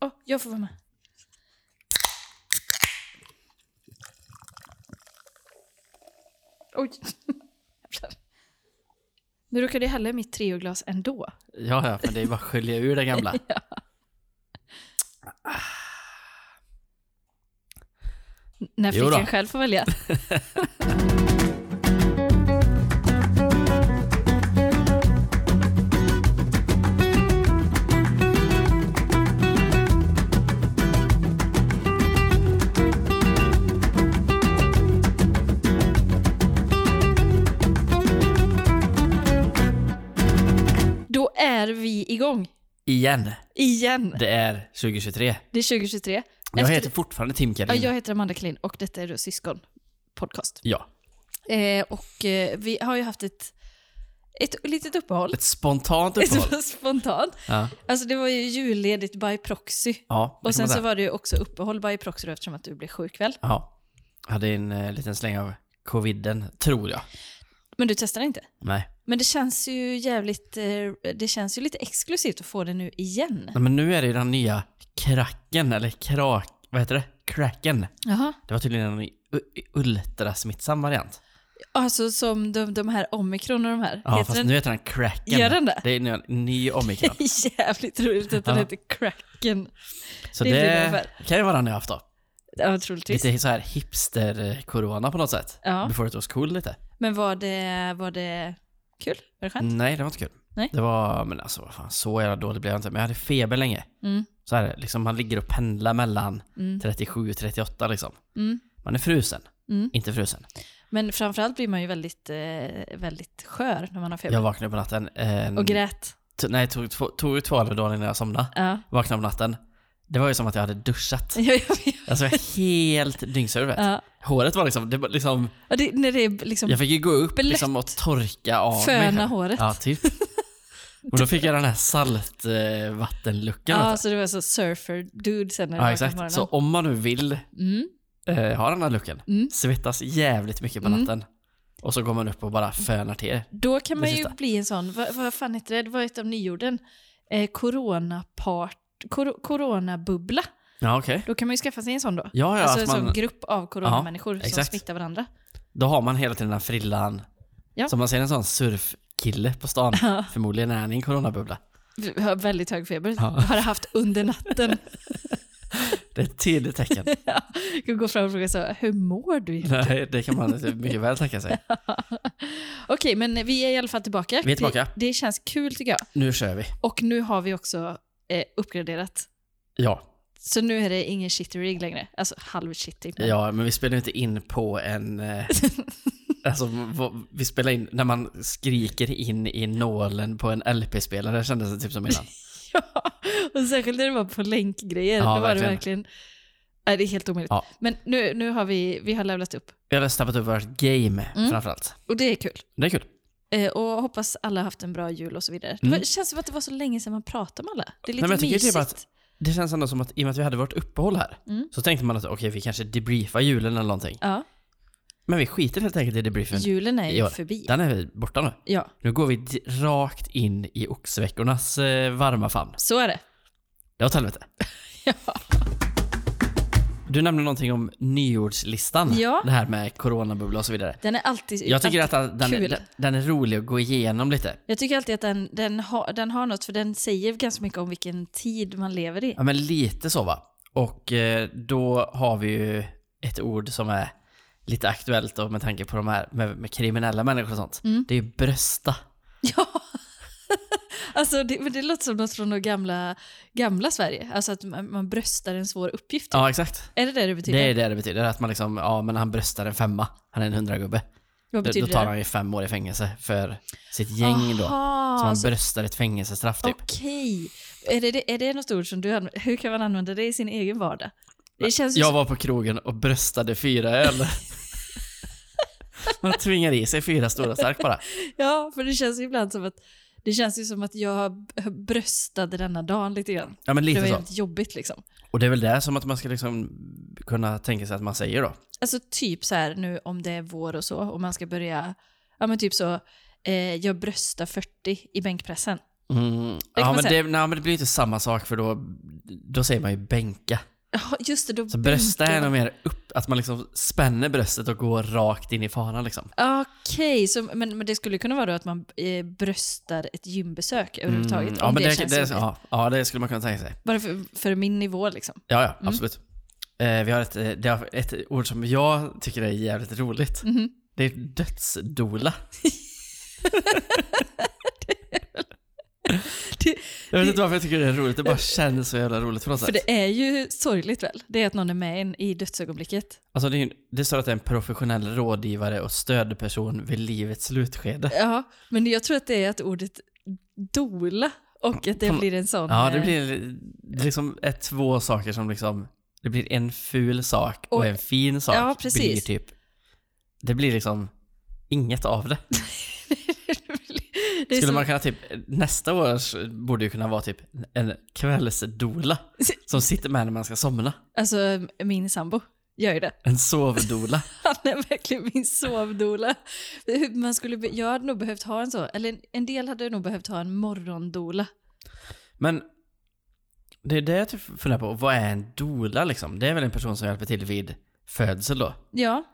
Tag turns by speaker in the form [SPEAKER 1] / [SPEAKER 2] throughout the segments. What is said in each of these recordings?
[SPEAKER 1] Åh, jag får vara med. Oj. Jävlar. Nu råkade jag hälla i mitt treoglas ändå.
[SPEAKER 2] Ja, ja, men det är bara att skölja ur det gamla.
[SPEAKER 1] N- När
[SPEAKER 2] Jo då.
[SPEAKER 1] flickan själv får välja. Då är vi igång
[SPEAKER 2] Igen.
[SPEAKER 1] igen.
[SPEAKER 2] Det är 2023.
[SPEAKER 1] Det är 2023.
[SPEAKER 2] Jag
[SPEAKER 1] Efter-
[SPEAKER 2] heter fortfarande Tim
[SPEAKER 1] Ja,
[SPEAKER 2] Karin.
[SPEAKER 1] jag heter Amanda Klin och detta är då Syskon podcast.
[SPEAKER 2] Ja.
[SPEAKER 1] Eh, och eh, vi har ju haft ett, ett litet uppehåll.
[SPEAKER 2] Ett spontant uppehåll.
[SPEAKER 1] Ett spontant.
[SPEAKER 2] Ja.
[SPEAKER 1] Alltså det var ju julledigt by proxy.
[SPEAKER 2] ja det
[SPEAKER 1] Och
[SPEAKER 2] kan man
[SPEAKER 1] sen så
[SPEAKER 2] säga.
[SPEAKER 1] var det ju också uppehåll by proxy då, eftersom att du blev sjuk väl.
[SPEAKER 2] Ja. Jag hade en eh, liten släng av coviden, tror jag.
[SPEAKER 1] Men du testade inte.
[SPEAKER 2] Nej.
[SPEAKER 1] Men det känns ju jävligt, eh, det känns ju lite exklusivt att få det nu igen.
[SPEAKER 2] Nej, men nu är det ju den nya kracken, eller krak... Vad heter det? Kraken.
[SPEAKER 1] Jaha.
[SPEAKER 2] Det var tydligen en u- ultrasmittsam variant.
[SPEAKER 1] Alltså som de, de här omikron och de här.
[SPEAKER 2] Ja,
[SPEAKER 1] heter
[SPEAKER 2] fast
[SPEAKER 1] den?
[SPEAKER 2] nu heter den kraken.
[SPEAKER 1] Gör den det?
[SPEAKER 2] Det är nu en ny omikron.
[SPEAKER 1] Jävligt roligt att den
[SPEAKER 2] Ja.
[SPEAKER 1] heter Kraken.
[SPEAKER 2] Så
[SPEAKER 1] Det
[SPEAKER 2] det,
[SPEAKER 1] blir ungefär.
[SPEAKER 2] kan ju vara den jag haft då.
[SPEAKER 1] Ja, troligtvis.
[SPEAKER 2] Lite så här hipster-corona på något sätt.
[SPEAKER 1] Ja.
[SPEAKER 2] Before it was cool lite.
[SPEAKER 1] Men var det, var det kul? Var det skönt?
[SPEAKER 2] Nej, det var inte kul.
[SPEAKER 1] Nej.
[SPEAKER 2] Det var, men alltså vad fan, så jävla dåligt blev jag inte. Men jag hade feber länge.
[SPEAKER 1] Mm.
[SPEAKER 2] Så här, liksom man ligger och pendlar mellan
[SPEAKER 1] Mm.
[SPEAKER 2] 37 och 38 liksom.
[SPEAKER 1] Mm.
[SPEAKER 2] Man är frusen.
[SPEAKER 1] Mm.
[SPEAKER 2] Inte frusen.
[SPEAKER 1] Men framförallt blir man ju väldigt, eh, väldigt skör när man har feber.
[SPEAKER 2] Jag vaknade på natten. Eh,
[SPEAKER 1] Och grät.
[SPEAKER 2] t- nej, tog, två- tog ju två Alvedon innan jag somnade.
[SPEAKER 1] Ja.
[SPEAKER 2] Vaknade på natten. Det var ju som att jag hade duschat.
[SPEAKER 1] Ja, jag vet.
[SPEAKER 2] Alltså jag var helt dyngsur. vet.
[SPEAKER 1] ja.
[SPEAKER 2] Håret var liksom, det var liksom,
[SPEAKER 1] Och det, när det är liksom
[SPEAKER 2] jag fick ju gå upp
[SPEAKER 1] Blött.
[SPEAKER 2] liksom och torka av mig.
[SPEAKER 1] föna
[SPEAKER 2] själv.
[SPEAKER 1] håret.
[SPEAKER 2] Ja, typ. Och då fick jag den här eh, saltvattenluckan.
[SPEAKER 1] Ja, så det var så surfer dude sen när det
[SPEAKER 2] Ja,
[SPEAKER 1] var på morgonen.
[SPEAKER 2] exakt. Så om man nu vill
[SPEAKER 1] Mm.
[SPEAKER 2] eh, ha den här looken,
[SPEAKER 1] Mm.
[SPEAKER 2] svettas jävligt mycket på
[SPEAKER 1] Mm.
[SPEAKER 2] natten och så går man upp och bara fönar till.
[SPEAKER 1] Då kan man
[SPEAKER 2] Det
[SPEAKER 1] ju
[SPEAKER 2] sista.
[SPEAKER 1] bli en sån, vad, vad fan heter det, det var ett av nyorden, eh, coronapart, kor, coronabubbla.
[SPEAKER 2] Ja, okej.
[SPEAKER 1] Då kan man ju skaffa sig en sån då.
[SPEAKER 2] Ja, ja,
[SPEAKER 1] alltså en
[SPEAKER 2] att man,
[SPEAKER 1] sån grupp av coronamänniskor som
[SPEAKER 2] exakt.
[SPEAKER 1] smittar varandra.
[SPEAKER 2] då har man hela tiden den här frillan.
[SPEAKER 1] Ja.
[SPEAKER 2] Så man ser en sån surfkille på stan.
[SPEAKER 1] Ja.
[SPEAKER 2] Förmodligen är han i en coronabubbla.
[SPEAKER 1] Vi har väldigt hög feber.
[SPEAKER 2] Ja.
[SPEAKER 1] Har det haft under natten.
[SPEAKER 2] Det är ett tydligt tecken.
[SPEAKER 1] Jag kan gå fram och fråga så, hur mår du? Okej,
[SPEAKER 2] Nej, det kan man typ mycket väl tänka sig.
[SPEAKER 1] men vi är i alla fall tillbaka.
[SPEAKER 2] Vi är tillbaka.
[SPEAKER 1] Det, det känns kul tycker jag.
[SPEAKER 2] Nu kör vi.
[SPEAKER 1] Och nu har vi också eh, uppgraderat.
[SPEAKER 2] Ja, så
[SPEAKER 1] Så nu är det ingen shitty rig längre. Alltså halv shitty. men-
[SPEAKER 2] ja men vi spelar ju inte in på en... Eh, alltså, vad- vi spelar in när man skriker in i nålen på en LP-spelare kändes det typ som innan.
[SPEAKER 1] Ja, och särskilt när det var på länkgrejer.
[SPEAKER 2] Ja,
[SPEAKER 1] då var det
[SPEAKER 2] verkligen.
[SPEAKER 1] verkligen... Nej, det är helt omöjligt.
[SPEAKER 2] Ja.
[SPEAKER 1] Men nu, nu har vi, vi har levlat upp.
[SPEAKER 2] Vi har steppat upp vårt game
[SPEAKER 1] Mm.
[SPEAKER 2] framförallt.
[SPEAKER 1] Och det är kul.
[SPEAKER 2] Det är kul.
[SPEAKER 1] Eh, och hoppas alla har haft en bra jul och så vidare. Det var, känns som att det var så länge sedan man pratade med alla. Det är lite
[SPEAKER 2] Mm. Nej, men jag tycker
[SPEAKER 1] mysigt.
[SPEAKER 2] typ att det känns ändå som att i och med att vi hade vårt uppehåll här
[SPEAKER 1] Mm.
[SPEAKER 2] så tänkte man att okej, vi kanske debriefar julen eller någonting.
[SPEAKER 1] Ja,
[SPEAKER 2] Men vi skiter helt enkelt i debriefen.
[SPEAKER 1] julen är ju
[SPEAKER 2] Ja,
[SPEAKER 1] förbi.
[SPEAKER 2] Den är vi borta nu.
[SPEAKER 1] Ja,
[SPEAKER 2] Nu går vi di- rakt in i oxveckornas eh, varma famn.
[SPEAKER 1] så är det.
[SPEAKER 2] Det var åt helvete.
[SPEAKER 1] Ja.
[SPEAKER 2] Du nämnde någonting om nyordslistan.
[SPEAKER 1] Ja.
[SPEAKER 2] Det här med coronabubbla och så vidare.
[SPEAKER 1] Den är alltid...
[SPEAKER 2] Jag tycker att
[SPEAKER 1] alltid
[SPEAKER 2] den, den,
[SPEAKER 1] kul.
[SPEAKER 2] den- den är rolig att gå igenom lite.
[SPEAKER 1] Jag tycker alltid att den, den, har den har något, för den säger ganska mycket om vilken tid man lever i.
[SPEAKER 2] Ja, men lite så va. Och eh, då har vi ju ett ord som är lite aktuellt då med tanke på de här med, med kriminella människor och sånt.
[SPEAKER 1] Mm.
[SPEAKER 2] Det är ju brösta.
[SPEAKER 1] Ja. Alltså det, men det låter som något från det gamla, gamla Sverige. Alltså att man, man bröstar en svår uppgift.
[SPEAKER 2] Ja, exakt.
[SPEAKER 1] Är det det det betyder?
[SPEAKER 2] Det är det det betyder. Att man liksom, ja men han bröstar en femma. Han är en hundragubbe.
[SPEAKER 1] Vad
[SPEAKER 2] Då,
[SPEAKER 1] betyder
[SPEAKER 2] då tar
[SPEAKER 1] det?
[SPEAKER 2] han ju fem år i fängelse för sitt gäng då.
[SPEAKER 1] Aha,
[SPEAKER 2] Så man
[SPEAKER 1] så-
[SPEAKER 2] bröstar ett fängelsestraff typ.
[SPEAKER 1] Okej. Är, det- det, är det något ord som du använder? Hur kan man använda det i sin egen vardag? Det känns ju
[SPEAKER 2] Jag
[SPEAKER 1] som,
[SPEAKER 2] var på krogen och bröstade fyra öl. Man tvingar i sig fyra stora stark bara.
[SPEAKER 1] ja, för det känns ju ibland som att det känns ju som att jag bröstade denna dagen lite grann.
[SPEAKER 2] Ja men
[SPEAKER 1] Det var
[SPEAKER 2] lite så.
[SPEAKER 1] jävligt jobbigt liksom.
[SPEAKER 2] Och det är väl det som att man ska liksom kunna tänka sig att man säger då.
[SPEAKER 1] Alltså typ så här nu om det är vår och så och man ska börja, ja men typ så, eh, jag bröstar 40 i bänkpressen.
[SPEAKER 2] Mm.
[SPEAKER 1] kan
[SPEAKER 2] Ja,
[SPEAKER 1] man
[SPEAKER 2] men det,
[SPEAKER 1] säga.
[SPEAKER 2] nej, men det blir ju inte samma sak för då, då säger man ju bänka.
[SPEAKER 1] Ja, just det. Då
[SPEAKER 2] Så brösta
[SPEAKER 1] bänker
[SPEAKER 2] är nog
[SPEAKER 1] man.
[SPEAKER 2] mer upp, att man liksom spänner bröstet och går rakt in i fanan liksom.
[SPEAKER 1] Okej, så- men, men det skulle kunna vara då att man eh, bröstar ett gymbesök överhuvudtaget.
[SPEAKER 2] Mm,
[SPEAKER 1] om
[SPEAKER 2] ja, men det,
[SPEAKER 1] känns
[SPEAKER 2] det,
[SPEAKER 1] jobbigt.
[SPEAKER 2] ja, ja, det skulle man kunna tänka sig.
[SPEAKER 1] Bara för, för min nivå liksom.
[SPEAKER 2] Ja, ja, absolut. Eh, vi har ett, eh, det har ett ord som jag tycker är jävligt roligt.
[SPEAKER 1] Mhm.
[SPEAKER 2] Det är dödsdola.
[SPEAKER 1] Det,
[SPEAKER 2] Jag vet inte varför jag tycker det är roligt, det bara känns så jävla roligt på något
[SPEAKER 1] för
[SPEAKER 2] sätt.
[SPEAKER 1] det är ju sorgligt väl? Det är att någon är med en i dödsögonblicket.
[SPEAKER 2] Alltså det, är, ju- det står att det är en professionell rådgivare och stödperson vid livets slutskede.
[SPEAKER 1] Ja, men jag tror att det är att ordet dola och att det
[SPEAKER 2] Fan.
[SPEAKER 1] blir en sån...
[SPEAKER 2] Ja, det
[SPEAKER 1] eh,
[SPEAKER 2] blir det liksom är två saker som liksom, det blir en ful sak och,
[SPEAKER 1] Och-
[SPEAKER 2] en fin sak.
[SPEAKER 1] Ja, precis.
[SPEAKER 2] Blir typ, det blir liksom inget av det.
[SPEAKER 1] eh, det är
[SPEAKER 2] Skulle
[SPEAKER 1] som-
[SPEAKER 2] man kunna typ, nästa års borde ju kunna vara typ en kvällsdola som sitter med när man ska somna.
[SPEAKER 1] Alltså min sambo gör ju det.
[SPEAKER 2] En sovdola.
[SPEAKER 1] Han är verkligen min sovdola. Man skulle, be- jag hade nog behövt ha en så, eller en, en del hade nog behövt ha en morgondola.
[SPEAKER 2] Men det är det jag typ funderar på, vad är en dola liksom? Det är väl en person som hjälper till vid födsel då?
[SPEAKER 1] Ja,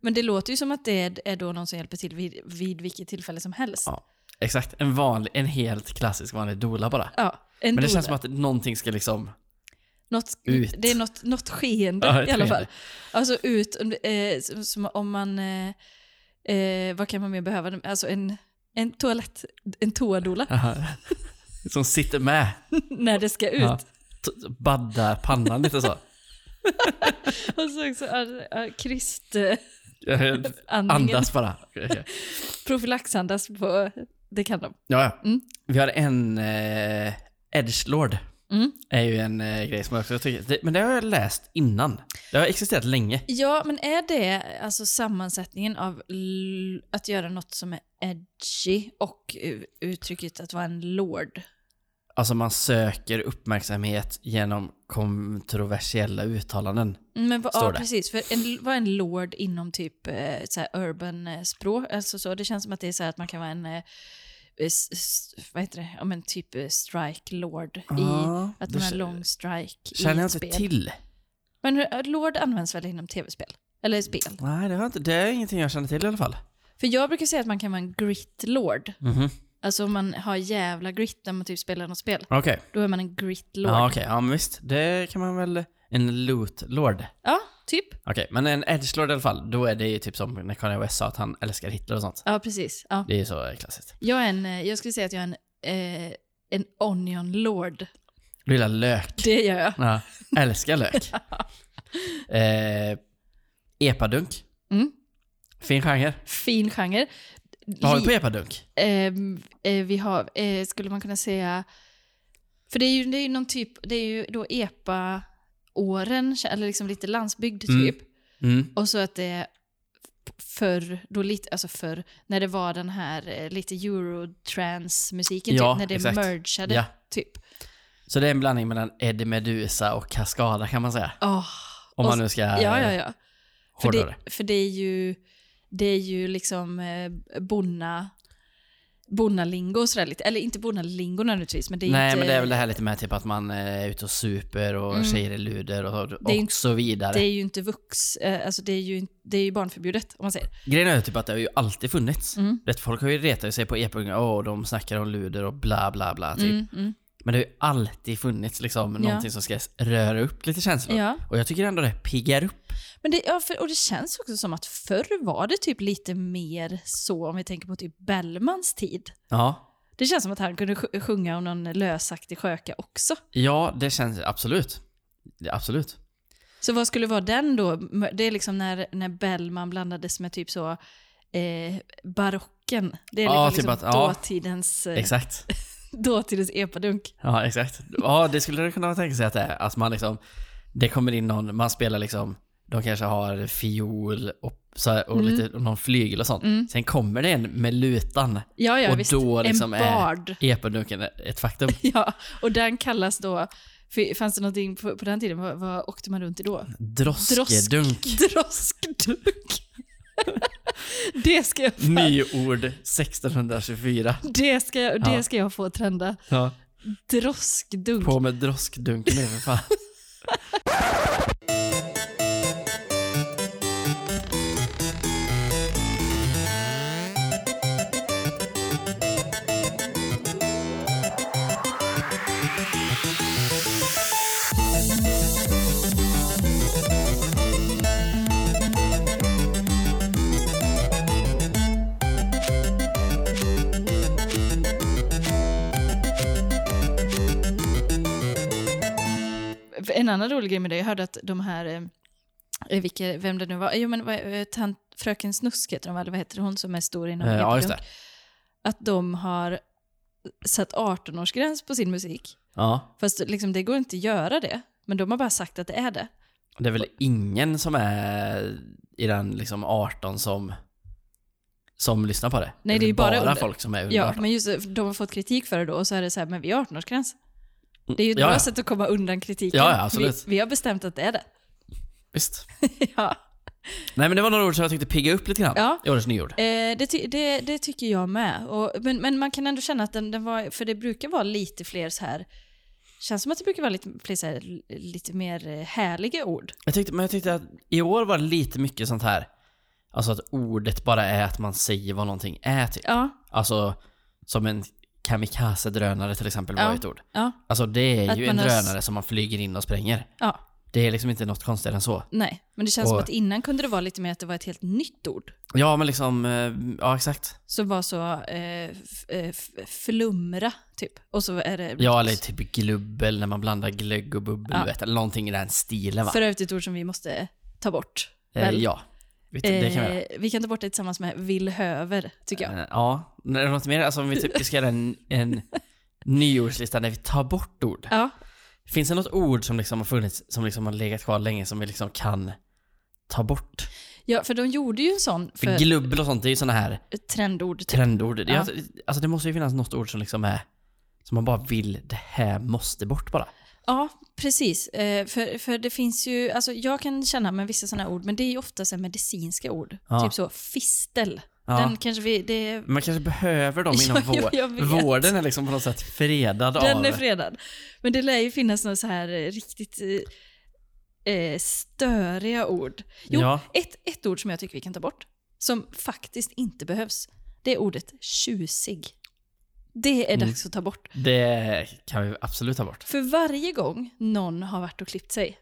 [SPEAKER 1] men det låter ju som att det är, är då någon som hjälper till vid, vid vilket tillfälle som helst.
[SPEAKER 2] Ja. Exakt, en vanlig, en helt klassisk vanlig dola bara.
[SPEAKER 1] Ja, en
[SPEAKER 2] Men det
[SPEAKER 1] doula.
[SPEAKER 2] känns som att någonting ska liksom,
[SPEAKER 1] något,
[SPEAKER 2] Ut.
[SPEAKER 1] Det är något, något skeende
[SPEAKER 2] Ja, ett
[SPEAKER 1] i alla fall.
[SPEAKER 2] skeende.
[SPEAKER 1] Alltså ut, om det- eh, som- som om man... Eh, eh, vad kan man mer behöva? Alltså en, en toalett, en toadola
[SPEAKER 2] som sitter med.
[SPEAKER 1] när det ska ut.
[SPEAKER 2] Ja. T- Baddar pannan lite så.
[SPEAKER 1] Och så också ar, ar, krist... Eh, andningen.
[SPEAKER 2] Andas bara. Okej, okej.
[SPEAKER 1] Profylaxandas på... Det kan de.
[SPEAKER 2] Ja, ja.
[SPEAKER 1] Mm.
[SPEAKER 2] Vi har en eh, Edgelord.
[SPEAKER 1] Mm.
[SPEAKER 2] är ju en eh, grej som jag också tycker. Det, men det har jag läst innan. Det har existerat länge.
[SPEAKER 1] Ja, men är det alltså sammansättningen av l- att göra något som är edgy och u- uttrycket att vara en lord?
[SPEAKER 2] Alltså man söker uppmärksamhet genom kontroversiella uttalanden.
[SPEAKER 1] Mm, Men vad,
[SPEAKER 2] Står
[SPEAKER 1] ja,
[SPEAKER 2] det.
[SPEAKER 1] precis. För en, vad är en lord inom typ eh, så här urban eh, språk? Alltså så, det känns som att det är så här att man kan vara en, eh, s, s, vad heter det, ja men typ eh, strike lord i,
[SPEAKER 2] Ja,
[SPEAKER 1] att
[SPEAKER 2] det
[SPEAKER 1] man har
[SPEAKER 2] k-
[SPEAKER 1] lång strike i
[SPEAKER 2] Känner jag
[SPEAKER 1] ett
[SPEAKER 2] inte
[SPEAKER 1] spel.
[SPEAKER 2] till.
[SPEAKER 1] Men hur- eh, lord används väl inom tv-spel? Eller spel?
[SPEAKER 2] Nej, det, har jag inte, det är ingenting jag känner till i alla fall.
[SPEAKER 1] För jag brukar säga att man kan vara en grit lord.
[SPEAKER 2] Mhm.
[SPEAKER 1] Alltså om man har jävla grit när man typ spelar något spel,
[SPEAKER 2] Okej.
[SPEAKER 1] då är man en grit lord.
[SPEAKER 2] Ja,
[SPEAKER 1] Ja,
[SPEAKER 2] okej. Ja, men visst. Det kan man väl... En loot lord.
[SPEAKER 1] typ.
[SPEAKER 2] Okej, men en edge lord i alla fall. Då är det ju typ som när Kanye West sa att han älskar Hitler och sånt.
[SPEAKER 1] Ja, precis. Ja.
[SPEAKER 2] Det är ju så eh, klassiskt.
[SPEAKER 1] Jag, är en, eh, jag skulle säga att jag är en, eh, en onion lord.
[SPEAKER 2] Du gillar lök.
[SPEAKER 1] Det gör jag.
[SPEAKER 2] Ja, älskar lök. eh, epadunk.
[SPEAKER 1] Mm.
[SPEAKER 2] Fin genre.
[SPEAKER 1] Fin genre.
[SPEAKER 2] Vad har
[SPEAKER 1] Li-
[SPEAKER 2] vi på epadunk?
[SPEAKER 1] Ehm, eh, vi har, eh, skulle man kunna säga, för det är ju, det är ju någon typ, det är ju då epa-åren, eller liksom lite landsbygd
[SPEAKER 2] Mm.
[SPEAKER 1] typ.
[SPEAKER 2] Mm.
[SPEAKER 1] Och så att det förr, då lite, alltså förr, när det var den här eh, lite eurotrance-musiken,
[SPEAKER 2] Ja,
[SPEAKER 1] typ, när det
[SPEAKER 2] exakt.
[SPEAKER 1] mergade,
[SPEAKER 2] Ja.
[SPEAKER 1] typ.
[SPEAKER 2] Så det är en blandning mellan Eddie Meduza och Cascada kan man säga.
[SPEAKER 1] Åh,
[SPEAKER 2] Om
[SPEAKER 1] Och
[SPEAKER 2] man
[SPEAKER 1] så-
[SPEAKER 2] nu ska
[SPEAKER 1] ja, ja, ja. För
[SPEAKER 2] hårdra det.
[SPEAKER 1] det, för det är ju, det är ju liksom eh, bonna, bonnalingo och sådär lite. Eller inte bonnalingo naturligtvis, men det är
[SPEAKER 2] Nej,
[SPEAKER 1] inte...
[SPEAKER 2] men det är väl det här lite med typ att man är ute och super och
[SPEAKER 1] Mm.
[SPEAKER 2] tjejer är luder och,
[SPEAKER 1] är
[SPEAKER 2] och
[SPEAKER 1] inte-
[SPEAKER 2] så vidare.
[SPEAKER 1] Det är ju inte vux, eh, alltså det är ju, det är ju barnförbjudet om man säger.
[SPEAKER 2] Grejen är ju typ att det har ju alltid funnits.
[SPEAKER 1] Mm.
[SPEAKER 2] Rätt folk har ju retat sig på epadunk. Åh, de snackar om luder och bla bla bla. Typ.
[SPEAKER 1] Mm, mm.
[SPEAKER 2] Men det har ju alltid funnits liksom
[SPEAKER 1] Ja.
[SPEAKER 2] någonting som ska röra upp lite känslor.
[SPEAKER 1] Ja.
[SPEAKER 2] Och jag tycker ändå det piggar upp.
[SPEAKER 1] Men det, ja, för, och det känns också som att förr var det typ lite mer så, om vi tänker på typ Bellmans tid.
[SPEAKER 2] Ja.
[SPEAKER 1] Det känns som att han kunde sj- sjunga om någon lösaktig sköka också.
[SPEAKER 2] Ja, det känns absolut. Det- Absolut.
[SPEAKER 1] Så vad skulle vara den då? Det är liksom när, när Bellman blandades med typ så eh, barocken. Det är
[SPEAKER 2] Ja,
[SPEAKER 1] liksom
[SPEAKER 2] typ att- ja.
[SPEAKER 1] dåtidens, eh,
[SPEAKER 2] Exakt.
[SPEAKER 1] dåtidens epadunk.
[SPEAKER 2] Ja, exakt. Ja, det skulle du kunna tänka sig att det är. Att man liksom, det kommer in någon, man spelar liksom, de kanske har fiol och, så här, och,
[SPEAKER 1] Mm.
[SPEAKER 2] lite, och någon flygel och sånt. Sen kommer det en med lutan.
[SPEAKER 1] Ja, ja,
[SPEAKER 2] och
[SPEAKER 1] visst.
[SPEAKER 2] då liksom
[SPEAKER 1] en
[SPEAKER 2] är
[SPEAKER 1] bard.
[SPEAKER 2] epadunken ett faktum.
[SPEAKER 1] Ja, och den kallas då, för- fanns det någonting på, på den tiden, vad, vad åkte man runt i då?
[SPEAKER 2] Droskedunk.
[SPEAKER 1] Droskdunk. Det ska jag, fan-
[SPEAKER 2] Nyord 1624.
[SPEAKER 1] det ska jag,
[SPEAKER 2] Ja.
[SPEAKER 1] det ska jag få trenda.
[SPEAKER 2] Ja.
[SPEAKER 1] Droskdunk.
[SPEAKER 2] På med droskdunken nu för fan.
[SPEAKER 1] En annan rolig grej med det, jag hörde att de här, eh, vilka, vem det nu var, jo men vad- eh, tant, fröken Snusk heter de väl, vad heter hon som är stor inom
[SPEAKER 2] Eh, Ja, just
[SPEAKER 1] Jättedumt?
[SPEAKER 2] det.
[SPEAKER 1] Att de har satt 18-årsgräns på sin musik.
[SPEAKER 2] Ja.
[SPEAKER 1] Fast liksom, det går inte att göra det. Men de har bara sagt att det är det.
[SPEAKER 2] Det är väl ingen som är i den liksom 18 som, som lyssnar på det.
[SPEAKER 1] Nej, det är
[SPEAKER 2] väl
[SPEAKER 1] ju bara under.
[SPEAKER 2] folk som är under
[SPEAKER 1] Ja,
[SPEAKER 2] 18.
[SPEAKER 1] men just det, de har fått kritik för det då och så är det så här, men vi har 18-årsgräns. Det är ju ett
[SPEAKER 2] Mm. Ja,
[SPEAKER 1] bra
[SPEAKER 2] ja.
[SPEAKER 1] sätt att komma undan kritiken.
[SPEAKER 2] Ja, ja, absolut.
[SPEAKER 1] Vi, vi har bestämt att det är det.
[SPEAKER 2] Visst.
[SPEAKER 1] ja.
[SPEAKER 2] Nej, men det var några ord som jag tyckte pigga upp lite grann
[SPEAKER 1] Ja.
[SPEAKER 2] i årets nyord.
[SPEAKER 1] Eh, det, ty- det, det tycker jag med. Och, men, men man kan ändå känna att den, den var, för det brukar vara lite fler så här, känns som att det brukar vara lite, fler så här, lite mer eh, härliga ord.
[SPEAKER 2] Jag tyckte, men jag tyckte att i år var det lite mycket sånt här, alltså att ordet bara är att man säger vad någonting är typ.
[SPEAKER 1] Ja,
[SPEAKER 2] Alltså, som en kamikaze-drönare till exempel var
[SPEAKER 1] Ja.
[SPEAKER 2] ett ord.
[SPEAKER 1] ja,
[SPEAKER 2] Alltså det är
[SPEAKER 1] Att
[SPEAKER 2] ju
[SPEAKER 1] man
[SPEAKER 2] en
[SPEAKER 1] har s-
[SPEAKER 2] drönare som man flyger in och spränger.
[SPEAKER 1] ja.
[SPEAKER 2] Det är liksom inte något konstigare än så.
[SPEAKER 1] Nej, men det känns som
[SPEAKER 2] Och-
[SPEAKER 1] att innan kunde det vara lite mer att det var ett helt nytt ord.
[SPEAKER 2] Ja, men liksom, eh, ja exakt.
[SPEAKER 1] Som var så eh, f- eh, f- flumra, typ. Och så är det...
[SPEAKER 2] Ja, eller typ glubbel när man blandar glögg och bubbel,
[SPEAKER 1] Ja.
[SPEAKER 2] du vet, eller någonting i den stilen va?
[SPEAKER 1] För övrigt ett ord som vi måste ta bort.
[SPEAKER 2] eh,
[SPEAKER 1] väl?
[SPEAKER 2] ja, Vet du, det kan vi göra.
[SPEAKER 1] Eh, vi kan ta bort det tillsammans med villhöver, tycker jag.
[SPEAKER 2] Eh, Ja, men är det något mer? Alltså om vi typ vi ska göra en, en nyordslista där vi tar bort ord.
[SPEAKER 1] Ja,
[SPEAKER 2] Finns det något ord som liksom har funnits, som liksom har legat kvar länge, som vi liksom kan ta bort?
[SPEAKER 1] ja för de gjorde ju en sån
[SPEAKER 2] För,
[SPEAKER 1] för
[SPEAKER 2] glubbel och sånt, det är ju sådana här
[SPEAKER 1] trendord. Typ.
[SPEAKER 2] trendord. Det,
[SPEAKER 1] Ja.
[SPEAKER 2] alltså, alltså det måste ju finnas något ord som liksom är, som man bara vill, det här måste bort bara.
[SPEAKER 1] Ja, precis. Eh, för, för det finns ju, alltså jag kan känna med vissa sådana ord, men det är ju ofta så här medicinska ord.
[SPEAKER 2] Ja.
[SPEAKER 1] Typ så, fistel.
[SPEAKER 2] Ja.
[SPEAKER 1] Den kanske vi, det,
[SPEAKER 2] Man kanske behöver dem inom
[SPEAKER 1] Ja, jo,
[SPEAKER 2] vår,
[SPEAKER 1] jag vet.
[SPEAKER 2] vården är liksom på något sätt fredad av...
[SPEAKER 1] Den är fredad. Men det lär ju finnas några så här eh, riktigt eh, eh, störiga ord. Jo,
[SPEAKER 2] Ja.
[SPEAKER 1] ett, ett ord som jag tycker vi kan ta bort, som faktiskt inte behövs, det är ordet tjusig. Det är
[SPEAKER 2] Mm.
[SPEAKER 1] dags att ta bort.
[SPEAKER 2] Det kan vi absolut ta bort.
[SPEAKER 1] För varje gång någon har varit och klippt sig,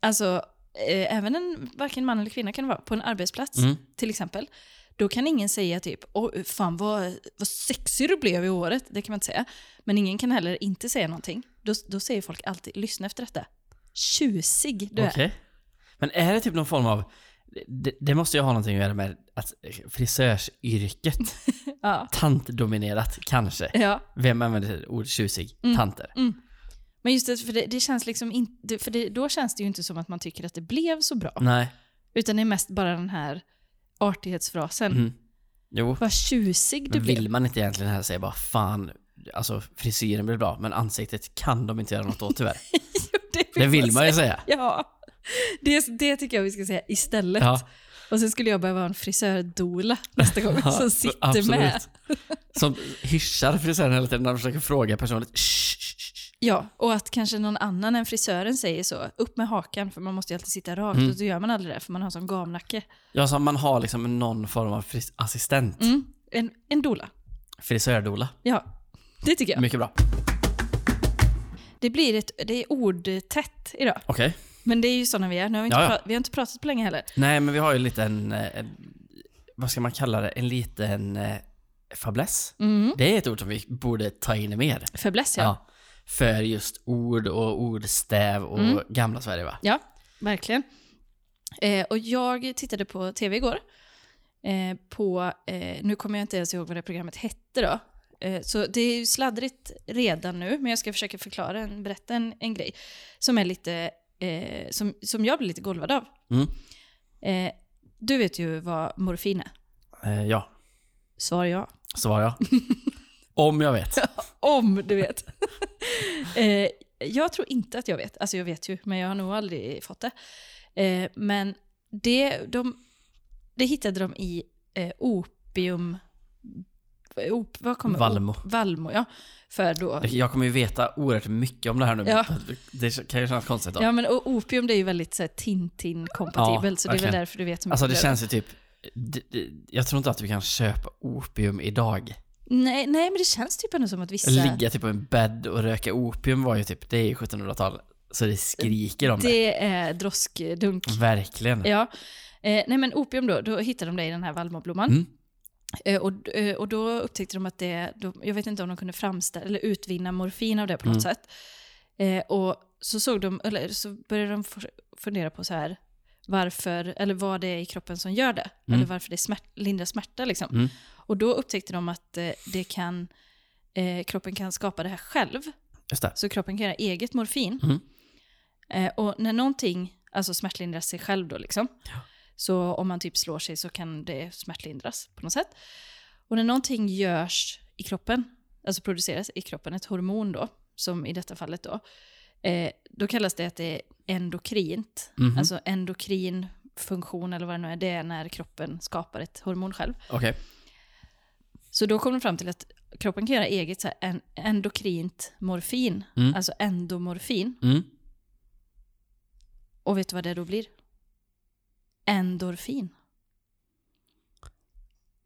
[SPEAKER 1] alltså eh, även en, varken man eller kvinna kan det vara, på en arbetsplats
[SPEAKER 2] Mm.
[SPEAKER 1] till exempel, då kan ingen säga typ åh fan vad, vad sexig du blev i året, det kan man inte säga. Men ingen kan heller inte säga någonting. Då, då säger folk alltid, lyssna efter detta, tjusig du
[SPEAKER 2] Okej.
[SPEAKER 1] är.
[SPEAKER 2] Men är det typ någon form av... Det, det måste ju ha någonting att göra med att frisörsyrket,
[SPEAKER 1] Ja.
[SPEAKER 2] tantdominerat kanske.
[SPEAKER 1] Ja.
[SPEAKER 2] Vem använder ordet tjusig?
[SPEAKER 1] Mm.
[SPEAKER 2] Tanter.
[SPEAKER 1] Men just det, för det, det känns liksom inte, för det, då känns det ju inte som att man tycker att det blev så bra.
[SPEAKER 2] Nej.
[SPEAKER 1] Utan det är mest bara den här artighetsfrasen.
[SPEAKER 2] Mm. Jo.
[SPEAKER 1] Vad typ tjusig du
[SPEAKER 2] Men
[SPEAKER 1] blev.
[SPEAKER 2] vill man inte egentligen här säga bara fan, alltså frisyren blir bra, men ansiktet kan de inte göra något åt tyvärr. Det vill man ju säga.
[SPEAKER 1] Ja, det, det tycker jag vi ska säga istället.
[SPEAKER 2] Ja,
[SPEAKER 1] Och sen skulle jag behöva en frisördola nästa gång som sitter med.
[SPEAKER 2] Som hyschar frisören hela tiden när de försöker fråga personligt. Shh, shh, shh.
[SPEAKER 1] Ja, och att kanske någon annan än frisören säger så. Upp med hakan, för man måste ju alltid sitta rakt.
[SPEAKER 2] Mm.
[SPEAKER 1] Och då gör man aldrig det, för man har sån gamnacke.
[SPEAKER 2] Ja, så man har liksom någon form av fris- assistent.
[SPEAKER 1] Mm. En, en dola.
[SPEAKER 2] Frisördola.
[SPEAKER 1] Ja, det tycker jag.
[SPEAKER 2] Mycket bra.
[SPEAKER 1] Det blir ett, det är ordtätt idag.
[SPEAKER 2] Okej.
[SPEAKER 1] Men det är ju sådana vi är. Nu har vi, inte
[SPEAKER 2] Ja, ja.
[SPEAKER 1] pra- vi har inte pratat på länge heller.
[SPEAKER 2] Nej, men vi har ju en liten, eh, en, vad ska man kalla det, en liten eh, fäbless.
[SPEAKER 1] Mm.
[SPEAKER 2] Det är ett ord som vi borde ta in mer.
[SPEAKER 1] Fäbless, ja. ja.
[SPEAKER 2] Ja. För just ord och ordstäv och
[SPEAKER 1] Mm.
[SPEAKER 2] gamla Sverige va?
[SPEAKER 1] Ja, verkligen. Eh, och jag tittade på tv igår. Eh, på, eh, nu kommer jag inte ens ihåg vad det programmet hette då. Eh, så det är ju sladdrigt redan nu, men jag ska försöka förklara en, berätta en, en grej som, är lite, eh, som, som jag blir lite golvad av.
[SPEAKER 2] Mm.
[SPEAKER 1] Eh, du vet ju vad morfin är.
[SPEAKER 2] Eh, ja,
[SPEAKER 1] Svar ja.
[SPEAKER 2] svarar jag. Om jag vet.
[SPEAKER 1] Om du vet. eh, jag tror inte att jag vet. Alltså jag vet ju, men jag har nog aldrig fått det. Eh, men det, de, det hittade de i eh, opium... Op, vad kommer
[SPEAKER 2] Valmo.
[SPEAKER 1] Valmo, ja. För då...
[SPEAKER 2] Jag kommer ju veta oerhört mycket om det här nu.
[SPEAKER 1] Ja.
[SPEAKER 2] Det kan ju kännas konstigt då.
[SPEAKER 1] Ja, men o- opium det är ju väldigt så här Tintin-kompatibelt,
[SPEAKER 2] Ja,
[SPEAKER 1] så det är väl
[SPEAKER 2] verkligen.
[SPEAKER 1] därför du vet hur mycket
[SPEAKER 2] Alltså det
[SPEAKER 1] är.
[SPEAKER 2] känns ju typ... d- d- Jag tror inte att du kan köpa opium idag.
[SPEAKER 1] Nej, nej, men det känns typ ändå som att vissa...
[SPEAKER 2] Ligga typ på en bädd och röka opium var ju typ, det är ju 1700-tal. Så det skriker om det.
[SPEAKER 1] Det är droskdunk.
[SPEAKER 2] Verkligen.
[SPEAKER 1] Ja. Eh, nej men opium då, då hittade de det i den här vallmoblomman.
[SPEAKER 2] Mm.
[SPEAKER 1] Eh, och, eh, och då upptäckte de att det, de, jag vet inte om de kunde framställa eller utvinna morfin av det på något
[SPEAKER 2] Mm.
[SPEAKER 1] sätt. Eh, och så såg de, eller så började de for- fundera på så här, varför, eller vad det är i kroppen som gör det. Eller varför det smärt, lindrar smärta liksom.
[SPEAKER 2] Mm.
[SPEAKER 1] Och då upptäckte de att eh, det kan, eh, kroppen kan skapa det här själv.
[SPEAKER 2] Just det.
[SPEAKER 1] Så kroppen kan göra eget morfin.
[SPEAKER 2] Mm.
[SPEAKER 1] Eh, och när någonting alltså smärtlindras sig själv då liksom. Så om man typ slår sig så kan det smärtlindras på något sätt. Och när någonting görs i kroppen, alltså produceras i kroppen, ett hormon då, som i detta fallet då, eh, då kallas det att det är endokrint.
[SPEAKER 2] Mhm.
[SPEAKER 1] Alltså endokrin funktion eller vad det nu är, det är när kroppen skapar ett hormon själv.
[SPEAKER 2] Okej.
[SPEAKER 1] Så då kom de fram till att kroppen kan göra eget så här, en, endokrint morfin,
[SPEAKER 2] Mm.
[SPEAKER 1] alltså endomorfin.
[SPEAKER 2] Mm.
[SPEAKER 1] Och vet du vad det då blir? Endorfin.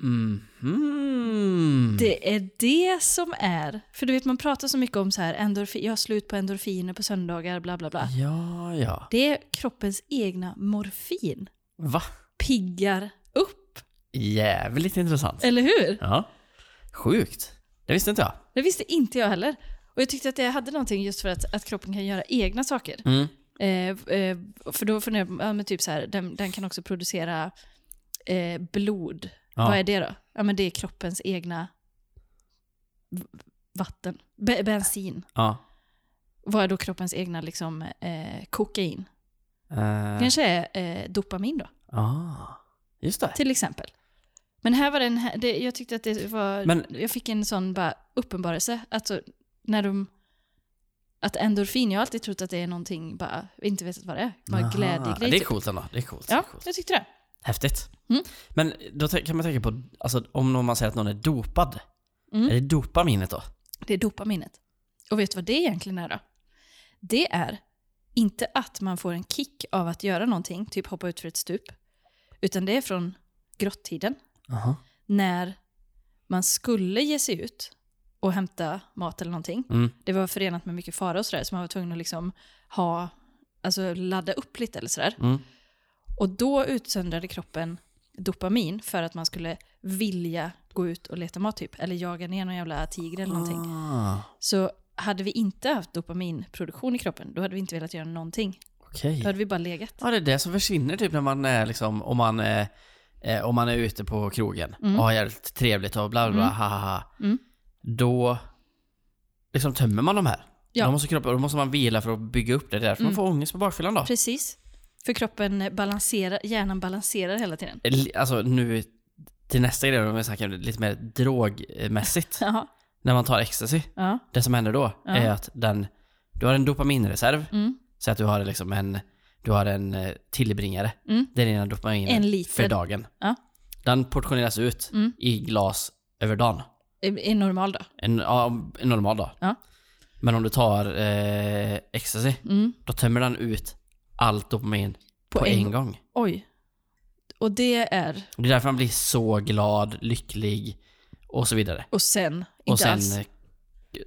[SPEAKER 2] mm, Mhm.
[SPEAKER 1] Det är det som är, för du vet man pratar så mycket om så här, endorfin, jag har slut på endorfiner på söndagar, bla bla bla.
[SPEAKER 2] Ja, ja.
[SPEAKER 1] Det är kroppens egna morfin.
[SPEAKER 2] Va?
[SPEAKER 1] Piggar upp,
[SPEAKER 2] Jävligt intressant.
[SPEAKER 1] eller hur?
[SPEAKER 2] Ja. Sjukt. Det visste inte jag.
[SPEAKER 1] Det visste inte jag heller. Och jag tyckte att det hade någonting just för att, att kroppen kan göra egna saker.
[SPEAKER 2] Mm.
[SPEAKER 1] Eh, eh, för då funderar man, ja, men typ så här, den, den kan också producera eh, blod.
[SPEAKER 2] Ja.
[SPEAKER 1] Vad är det då? Ja men det är kroppens egna v- vatten, Be- bensin.
[SPEAKER 2] Ja.
[SPEAKER 1] Vad är då kroppens egna liksom, eh, kokain?
[SPEAKER 2] Eh,
[SPEAKER 1] Kanske är eh, dopamin då,
[SPEAKER 2] ah. Just det.
[SPEAKER 1] till exempel. Men här var den här, det, jag tyckte att det var,
[SPEAKER 2] Men-
[SPEAKER 1] jag fick en sån bara uppenbarelse. Alltså när de, att endorfin, jag har alltid trott att det är någonting, bara, inte vet vad det är. Bara
[SPEAKER 2] Aha.
[SPEAKER 1] glädjegrej.
[SPEAKER 2] Det är
[SPEAKER 1] typ.
[SPEAKER 2] coolt ändå. Det är coolt.
[SPEAKER 1] Ja,
[SPEAKER 2] coolt.
[SPEAKER 1] jag tyckte det.
[SPEAKER 2] Häftigt.
[SPEAKER 1] Mm.
[SPEAKER 2] Men då tän- kan man tänka på, alltså, om någon- man säger att någon är dopad,
[SPEAKER 1] Mm.
[SPEAKER 2] är det dopaminet då?
[SPEAKER 1] Det är dopaminet. Och vet du vad det egentligen är då? Det är inte att man får en kick av att göra någonting, typ hoppa ut för ett stup, utan det är från grottiden
[SPEAKER 2] Aha.
[SPEAKER 1] när man skulle ge sig ut och hämta mat eller någonting.
[SPEAKER 2] Mm.
[SPEAKER 1] Det var förenat med mycket fara och sådär, så man var tvungen att liksom ha, alltså ladda upp lite eller sådär.
[SPEAKER 2] Mm.
[SPEAKER 1] Och då utsöndrade kroppen dopamin för att man skulle vilja gå ut och leta mat typ, eller jaga ner någon jävla tiger eller någonting.
[SPEAKER 2] Ah,
[SPEAKER 1] Så hade vi inte haft dopaminproduktion i kroppen, då hade vi inte velat göra någonting.
[SPEAKER 2] Okej.
[SPEAKER 1] Då hade vi bara legat.
[SPEAKER 2] Ja, det är det som försvinner typ när man är liksom, om man är, eh, om man är ute på krogen och har jävligt trevligt och bla bla bla, ha, ha, ha.
[SPEAKER 1] Mm.
[SPEAKER 2] Då liksom tömmer man de här.
[SPEAKER 1] Ja. Mm.
[SPEAKER 2] Då, måste kroppen, då måste man vila för att bygga upp det. Det är därför man får ångest på bakfyllan då.
[SPEAKER 1] Precis. För kroppen balanserar, hjärnan balanserar hela tiden.
[SPEAKER 2] Li- Alltså nu till nästa grej, om vi snackar lite mer drogmässigt.
[SPEAKER 1] Jaha.
[SPEAKER 2] när man tar ecstasy.
[SPEAKER 1] Ja.
[SPEAKER 2] Det som händer då
[SPEAKER 1] Ja.
[SPEAKER 2] är att den, du har en dopaminreserv.
[SPEAKER 1] Mm.
[SPEAKER 2] Så att du har liksom en, du har en eh, tillbringare.
[SPEAKER 1] Mm.
[SPEAKER 2] Det är dina dopaminer
[SPEAKER 1] En liter.
[SPEAKER 2] för dagen.
[SPEAKER 1] Ja.
[SPEAKER 2] Den portioneras ut
[SPEAKER 1] Mm.
[SPEAKER 2] i glas över dagen.
[SPEAKER 1] Är är normal då.
[SPEAKER 2] En, ja, en normal dag.
[SPEAKER 1] Ja.
[SPEAKER 2] Men om du tar eh, ecstasy,
[SPEAKER 1] Mm.
[SPEAKER 2] då tömmer den ut allt dopamin på, en, gång.
[SPEAKER 1] Oj. Och det är...
[SPEAKER 2] Det är därför man blir så glad, lycklig och så vidare.
[SPEAKER 1] Och sen, inte
[SPEAKER 2] och sen
[SPEAKER 1] alls.
[SPEAKER 2] eh,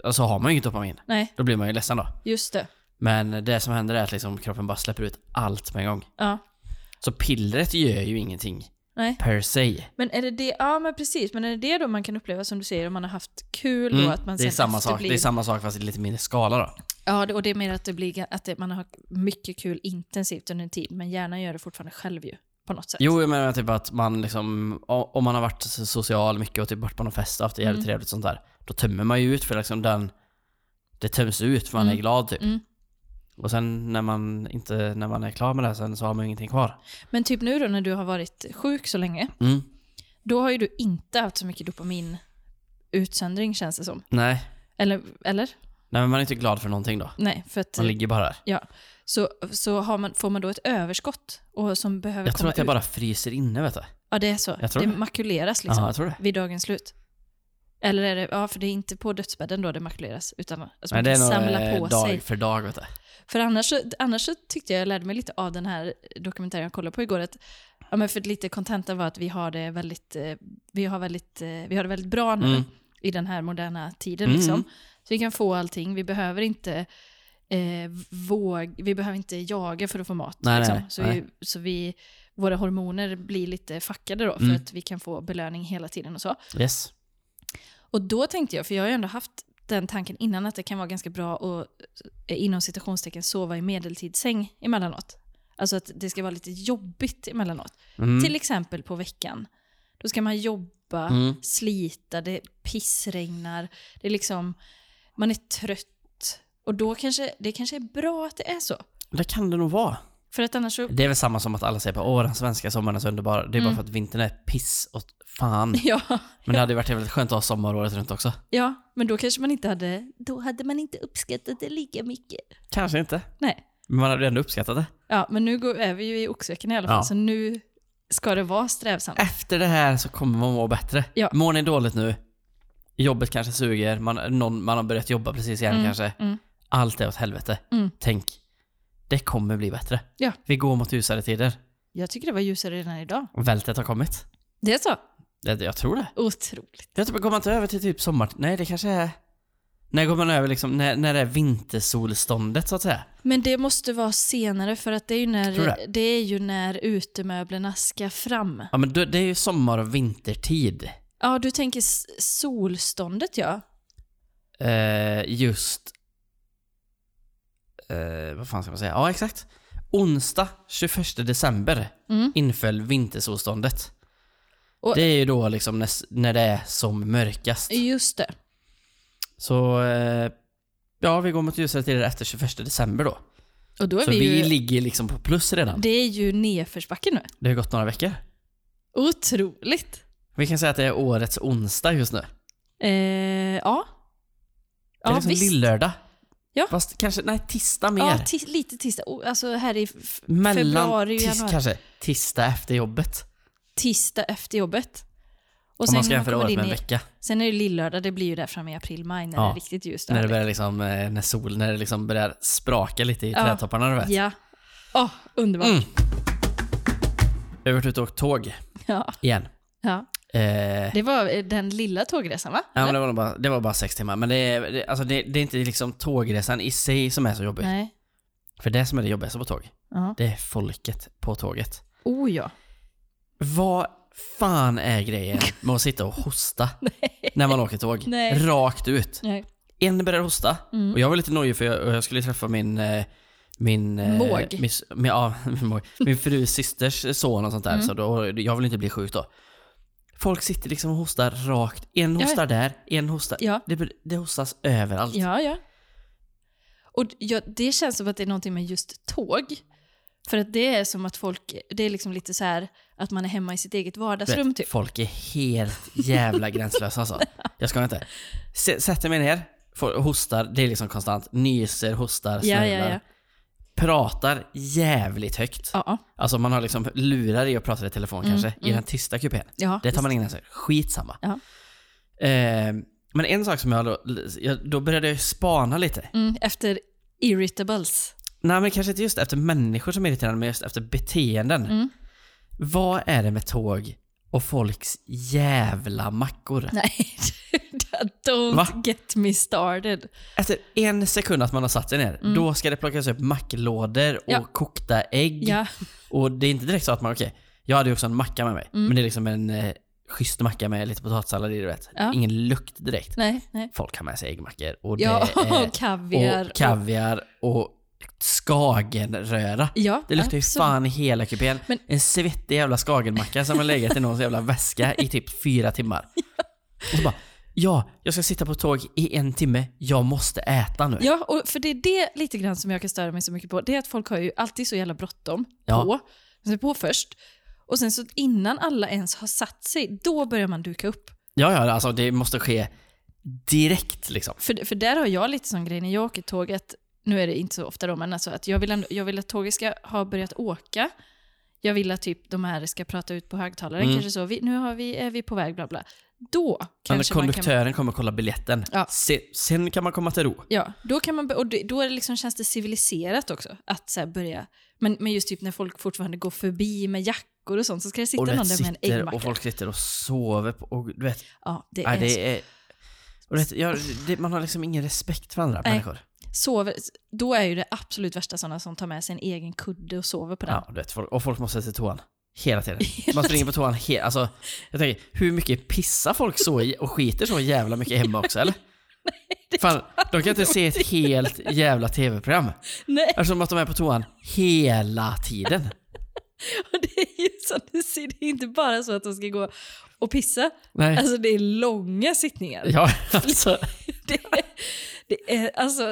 [SPEAKER 2] alltså, har man ju inget dopamin.
[SPEAKER 1] Nej,
[SPEAKER 2] Då blir man ju ledsen då.
[SPEAKER 1] just det.
[SPEAKER 2] Men det som händer är att liksom kroppen bara släpper ut allt på en gång.
[SPEAKER 1] Ja.
[SPEAKER 2] Så pillret gör ju ingenting
[SPEAKER 1] Nej.
[SPEAKER 2] per se.
[SPEAKER 1] Men är det det, ja men precis, men är det det då man kan uppleva som du säger om man har haft kul
[SPEAKER 2] Mm,
[SPEAKER 1] då? Att man
[SPEAKER 2] det, är
[SPEAKER 1] sen
[SPEAKER 2] samma
[SPEAKER 1] efter
[SPEAKER 2] sak,
[SPEAKER 1] blir-
[SPEAKER 2] det är samma sak fast i lite mindre skala då.
[SPEAKER 1] Ja, det- och det är mer att, det blir, att det, man har mycket kul intensivt under en tid, men hjärnan gör det fortfarande själv ju. På något sätt.
[SPEAKER 2] Jo, jag menar typ att man liksom, o- om man har varit så- social mycket och typ varit på någon fest och haft det jävligt
[SPEAKER 1] Mm.
[SPEAKER 2] trevligt och sånt där. Då tömmer man ju ut för liksom den, det töms ut för man är glad typ.
[SPEAKER 1] Mm.
[SPEAKER 2] Och sen när man inte, när man är klar med det här sen så har man ju ingenting kvar.
[SPEAKER 1] Men typ nu då när du har varit sjuk så länge,
[SPEAKER 2] Mm.
[SPEAKER 1] då har ju du inte haft så mycket dopamin utsöndring känns det som.
[SPEAKER 2] Nej.
[SPEAKER 1] Eller? eller?
[SPEAKER 2] Nej men man är inte glad för någonting då.
[SPEAKER 1] Nej, för att...
[SPEAKER 2] Man ligger bara där.
[SPEAKER 1] Ja. Så, så har man, får man då ett överskott och som behöver
[SPEAKER 2] Jag tror
[SPEAKER 1] komma
[SPEAKER 2] att jag
[SPEAKER 1] ut.
[SPEAKER 2] bara fryser inne vet du.
[SPEAKER 1] Ja, det är så.
[SPEAKER 2] Jag tror
[SPEAKER 1] det
[SPEAKER 2] det.
[SPEAKER 1] makuleras liksom
[SPEAKER 2] Ja, jag tror det.
[SPEAKER 1] vid dagens slut. Eller är det, ja för det är inte på dödsbädden då det makuleras, utan alltså
[SPEAKER 2] Men
[SPEAKER 1] man
[SPEAKER 2] det
[SPEAKER 1] kan
[SPEAKER 2] är
[SPEAKER 1] samla
[SPEAKER 2] nog
[SPEAKER 1] på
[SPEAKER 2] eh, dag
[SPEAKER 1] sig.
[SPEAKER 2] för dag, vet du.
[SPEAKER 1] För annars, så- annars så tyckte jag, jag lärde mig lite av den här dokumentären jag kollade på igår, att ja, men för lite kontentan var att vi har det väldigt, eh, vi har väldigt, eh, vi har det väldigt bra nu
[SPEAKER 2] Mm.
[SPEAKER 1] i den här moderna tiden.
[SPEAKER 2] Mm.
[SPEAKER 1] Liksom. Så vi kan få allting, vi behöver inte eh, våg, vi behöver inte jaga för att få mat.
[SPEAKER 2] Nej,
[SPEAKER 1] liksom.
[SPEAKER 2] nej,
[SPEAKER 1] så
[SPEAKER 2] nej.
[SPEAKER 1] Vi, så vi, våra hormoner blir lite fuckade då, för
[SPEAKER 2] Mm.
[SPEAKER 1] att vi kan få belöning hela tiden och så.
[SPEAKER 2] Yes.
[SPEAKER 1] Och då tänkte jag, för jag har ju ändå haft den tanken innan att det kan vara ganska bra att eh, inom citationstecken sova i medeltidssäng emellanåt. Alltså att det ska vara lite jobbigt emellanåt.
[SPEAKER 2] Mm.
[SPEAKER 1] Till exempel på veckan. Då ska man jobba,
[SPEAKER 2] Mm.
[SPEAKER 1] slita, det pissregnar, det är liksom, man är trött. Och då kanske, det kanske är bra att det är så.
[SPEAKER 2] Det kan det nog vara.
[SPEAKER 1] För att annars så,
[SPEAKER 2] Det är väl samma som att alla säger på åh den svenska sommaren är så underbar. Det är bara för att vintern är piss och fan.
[SPEAKER 1] ja,
[SPEAKER 2] Men det hade ju varit väldigt skönt att ha sommar året runt också.
[SPEAKER 1] ja, men då kanske man inte hade, då hade man inte uppskattat det lika mycket.
[SPEAKER 2] Kanske inte.
[SPEAKER 1] Nej.
[SPEAKER 2] Men man hade ju ändå uppskattat det.
[SPEAKER 1] Ja, men nu går, är vi ju i oxveckan i alla fall,
[SPEAKER 2] Ja.
[SPEAKER 1] så nu ska det vara strävsamt.
[SPEAKER 2] Efter det här så kommer man må bättre.
[SPEAKER 1] Ja.
[SPEAKER 2] Mår ni dåligt nu, jobbet kanske suger, man, någon, man har börjat jobba precis igen kanske.
[SPEAKER 1] mm.
[SPEAKER 2] Allt är åt helvete.
[SPEAKER 1] Mm.
[SPEAKER 2] Tänk, det kommer bli bättre.
[SPEAKER 1] Ja.
[SPEAKER 2] Vi går mot ljusare tider.
[SPEAKER 1] Jag tycker det var ljusare redan idag.
[SPEAKER 2] Vältet har kommit.
[SPEAKER 1] Det är så?
[SPEAKER 2] Det, jag tror det.
[SPEAKER 1] Otroligt.
[SPEAKER 2] Jag tror, går man inte över till typ sommar... Nej, det kanske är... När går man över liksom, när, när det är vintersolståndet så att säga?
[SPEAKER 1] Men det måste vara senare för att det är ju när,
[SPEAKER 2] Tror du
[SPEAKER 1] det? är ju när utemöblerna ska fram.
[SPEAKER 2] Ja men då, det är ju sommar och vintertid.
[SPEAKER 1] Ja, du tänker s- solståndet ja.
[SPEAKER 2] Eh, just... Eh, vad fan ska man säga? Ja, exakt. Onsdag 21 december
[SPEAKER 1] Mm.
[SPEAKER 2] inföll vintersolståndet.
[SPEAKER 1] Och-
[SPEAKER 2] det är ju då liksom när, när det är som mörkast.
[SPEAKER 1] Just det.
[SPEAKER 2] Så... Eh, ja, vi går mot ljusare tider efter 21 december då.
[SPEAKER 1] Och då är
[SPEAKER 2] Så
[SPEAKER 1] vi,
[SPEAKER 2] vi,
[SPEAKER 1] ju...
[SPEAKER 2] ligger liksom på plus redan.
[SPEAKER 1] Det är ju nedförsbacke nu.
[SPEAKER 2] Det har ju gått några veckor.
[SPEAKER 1] Otroligt.
[SPEAKER 2] Vi kan säga att det är årets onsdag just nu.
[SPEAKER 1] Eh, ja.
[SPEAKER 2] det är
[SPEAKER 1] Ja,
[SPEAKER 2] liksom
[SPEAKER 1] visst.
[SPEAKER 2] lördag.
[SPEAKER 1] Ja.
[SPEAKER 2] Fast kanske, nej tisdag mer.
[SPEAKER 1] Ja, tis- lite tisdag. Oh, Alltså här i f-
[SPEAKER 2] Mellan
[SPEAKER 1] februari,
[SPEAKER 2] tis,
[SPEAKER 1] januari.
[SPEAKER 2] kanske tisdag efter jobbet.
[SPEAKER 1] tisdag efter jobbet. Och
[SPEAKER 2] Om
[SPEAKER 1] sen,
[SPEAKER 2] man ska
[SPEAKER 1] när man
[SPEAKER 2] jämföra
[SPEAKER 1] kommer
[SPEAKER 2] året med
[SPEAKER 1] in
[SPEAKER 2] en
[SPEAKER 1] i,
[SPEAKER 2] vecka.
[SPEAKER 1] sen är det lillördag, det blir ju där framme i april, maj när
[SPEAKER 2] Ja,
[SPEAKER 1] det är riktigt ljust.
[SPEAKER 2] När det börjar liksom, eh, när solen, när det liksom börjar spraka lite i
[SPEAKER 1] Ja.
[SPEAKER 2] trädtopparna du vet.
[SPEAKER 1] Ja. Åh, underbart.
[SPEAKER 2] Mm. Jag har varit ute och åkt tåg
[SPEAKER 1] Ja,
[SPEAKER 2] igen.
[SPEAKER 1] ja.
[SPEAKER 2] Eh,
[SPEAKER 1] Det var eh, den lilla tågresan va?
[SPEAKER 2] Ja, men det, var nog bara, det var bara sex timmar. Men det är, det, alltså det, det är inte liksom tågresan i sig som är så jobbig.
[SPEAKER 1] Nej.
[SPEAKER 2] För det som är det jobbigaste på tåg,
[SPEAKER 1] Ja.
[SPEAKER 2] det är folket på tåget.
[SPEAKER 1] Oh ja.
[SPEAKER 2] Vad fan är grejen med att sitta och hosta när man åker tåg?
[SPEAKER 1] Nej.
[SPEAKER 2] Rakt ut.
[SPEAKER 1] Nej.
[SPEAKER 2] En började hosta
[SPEAKER 1] Mm.
[SPEAKER 2] och jag var lite nojig för jag, jag skulle träffa min... eh, Min, eh,
[SPEAKER 1] Måg.
[SPEAKER 2] Min, s- min, ja, min, måg. min frus systers son och sånt där.
[SPEAKER 1] Mm.
[SPEAKER 2] Så då, jag vill inte bli sjuk då. Folk sitter liksom och hostar rakt. En
[SPEAKER 1] Ja.
[SPEAKER 2] hostar där, en hostar...
[SPEAKER 1] Ja.
[SPEAKER 2] Det, det hostas överallt.
[SPEAKER 1] Ja, ja. Och d- ja, det känns som att det är någonting med just tåg. För att det är som att folk, det är liksom lite så här att man är hemma i sitt eget
[SPEAKER 2] Du
[SPEAKER 1] vardagsrum
[SPEAKER 2] vet,
[SPEAKER 1] typ.
[SPEAKER 2] Folk är helt jävla gränslösa alltså. Jag ska inte. S- sätter mig ner, får, hostar, det är liksom konstant. Nyser, hostar,
[SPEAKER 1] Ja,
[SPEAKER 2] snörvlar.
[SPEAKER 1] ja, ja.
[SPEAKER 2] Pratar jävligt högt.
[SPEAKER 1] Ja,
[SPEAKER 2] Alltså man har liksom lurar i och pratar i telefon
[SPEAKER 1] Mm,
[SPEAKER 2] kanske, i den tysta kupén.
[SPEAKER 1] ja.
[SPEAKER 2] Det tar man in sig. Skitsamma.
[SPEAKER 1] Ja.
[SPEAKER 2] Eh, men en sak som jag då, jag, då började jag spana lite.
[SPEAKER 1] Mm, efter irritables.
[SPEAKER 2] Nej men kanske inte just efter människor som är irriterande, men just efter beteenden.
[SPEAKER 1] Mm.
[SPEAKER 2] Vad är det med tåg och folks jävla mackor?
[SPEAKER 1] Nej, don't
[SPEAKER 2] Va?
[SPEAKER 1] get me started.
[SPEAKER 2] Efter en sekund att man har satt sig ner, då ska det plockas upp macklådor och
[SPEAKER 1] Mm. Ja.
[SPEAKER 2] kokta ägg.
[SPEAKER 1] Ja.
[SPEAKER 2] Och det är inte direkt så att man, okej, jag hade ju också en macka med mig.
[SPEAKER 1] Mm.
[SPEAKER 2] Men det är liksom en eh, schysst macka med lite potatissallad i, du vet.
[SPEAKER 1] Ja.
[SPEAKER 2] Ingen lukt direkt.
[SPEAKER 1] Nej, nej.
[SPEAKER 2] Folk har med sig äggmackor och,
[SPEAKER 1] Ja,
[SPEAKER 2] det är,
[SPEAKER 1] och kaviar.
[SPEAKER 2] och kaviar och skagenröra.
[SPEAKER 1] ja,
[SPEAKER 2] Det luktar ju
[SPEAKER 1] absolut.
[SPEAKER 2] fan i hela kupén.
[SPEAKER 1] Men-
[SPEAKER 2] En svettig jävla skagenmacka som har legat i någons jävla väska i typ fyra timmar. Och så bara, ja, jag ska sitta på tåg i en timme, jag måste äta nu.
[SPEAKER 1] Ja, och för det är det lite grann som jag kan störa mig så mycket på. Det är att folk har ju alltid så jävla bråttom
[SPEAKER 2] Ja.
[SPEAKER 1] på. De är på först. Och sen så innan alla ens har satt sig, då börjar man duka upp.
[SPEAKER 2] Ja, ja, alltså det måste ske direkt liksom.
[SPEAKER 1] För, för där har jag lite sån grej när jag åker tåg att, nu är det inte så ofta då, men alltså att jag vill, ändå, jag vill att tåget ska ha börjat åka. jag vill att typ de här ska prata ut på högtalaren,
[SPEAKER 2] Mm.
[SPEAKER 1] kanske så, vi, nu har vi, är vi på väg, bla bla. Då
[SPEAKER 2] Men
[SPEAKER 1] kanske man kan...
[SPEAKER 2] konduktören kommer kolla biljetten.
[SPEAKER 1] Ja.
[SPEAKER 2] Se, sen kan man komma till ro.
[SPEAKER 1] Ja, då kan man, be- och det- då är det liksom, känns det civiliserat också att så här börja, men, men just typ när folk fortfarande går förbi med jackor och sånt så ska det sitta
[SPEAKER 2] Och du
[SPEAKER 1] någon
[SPEAKER 2] vet,
[SPEAKER 1] där med en
[SPEAKER 2] sitter
[SPEAKER 1] äggmacka.
[SPEAKER 2] och folk sitter och sover på, och du vet,
[SPEAKER 1] Ja, det
[SPEAKER 2] nej,
[SPEAKER 1] är så-
[SPEAKER 2] det är... Och du vet, jag, det, man har liksom ingen respekt för andra
[SPEAKER 1] Nej.
[SPEAKER 2] människor.
[SPEAKER 1] sover, då är ju det absolut värsta sådana som tar med sig en egen kudde och sover på den.
[SPEAKER 2] Ja, du vet, folk, och folk måste till toan. Hela tiden.
[SPEAKER 1] Hela
[SPEAKER 2] Man springer på toan hela... Alltså, jag tänker, hur mycket pissar folk så i och skiter så jävla mycket hemma också eller? Fan, de kan inte se ett helt jävla tv-program.
[SPEAKER 1] Nej,
[SPEAKER 2] Eftersom att de är på toan hela tiden.
[SPEAKER 1] och det är ju som du ser, det är inte bara så att de ska gå och pissa.
[SPEAKER 2] Nej.
[SPEAKER 1] Alltså det är långa sittningar.
[SPEAKER 2] Ja, alltså.
[SPEAKER 1] Det är, det är alltså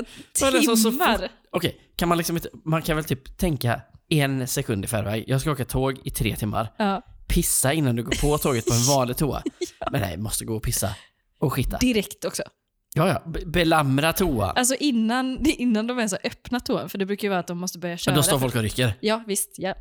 [SPEAKER 2] Ja, det är så- så
[SPEAKER 1] timmar.
[SPEAKER 2] Okej, kan man liksom inte... Man kan väl typ tänka en sekund i förväg. Jag ska åka tåg i tre timmar.
[SPEAKER 1] Ja,
[SPEAKER 2] Pissa innan du går på tåget på en vanlig toa. Men nej, måste gå och pissa. Och skita.
[SPEAKER 1] direkt också.
[SPEAKER 2] Ja, ja. be- Belamra toan.
[SPEAKER 1] Alltså innan, det är innan de ens har öppnat toan, för det brukar ju vara att de måste börja köra.
[SPEAKER 2] Men då står folk och rycker.
[SPEAKER 1] Ja, visst. Ja.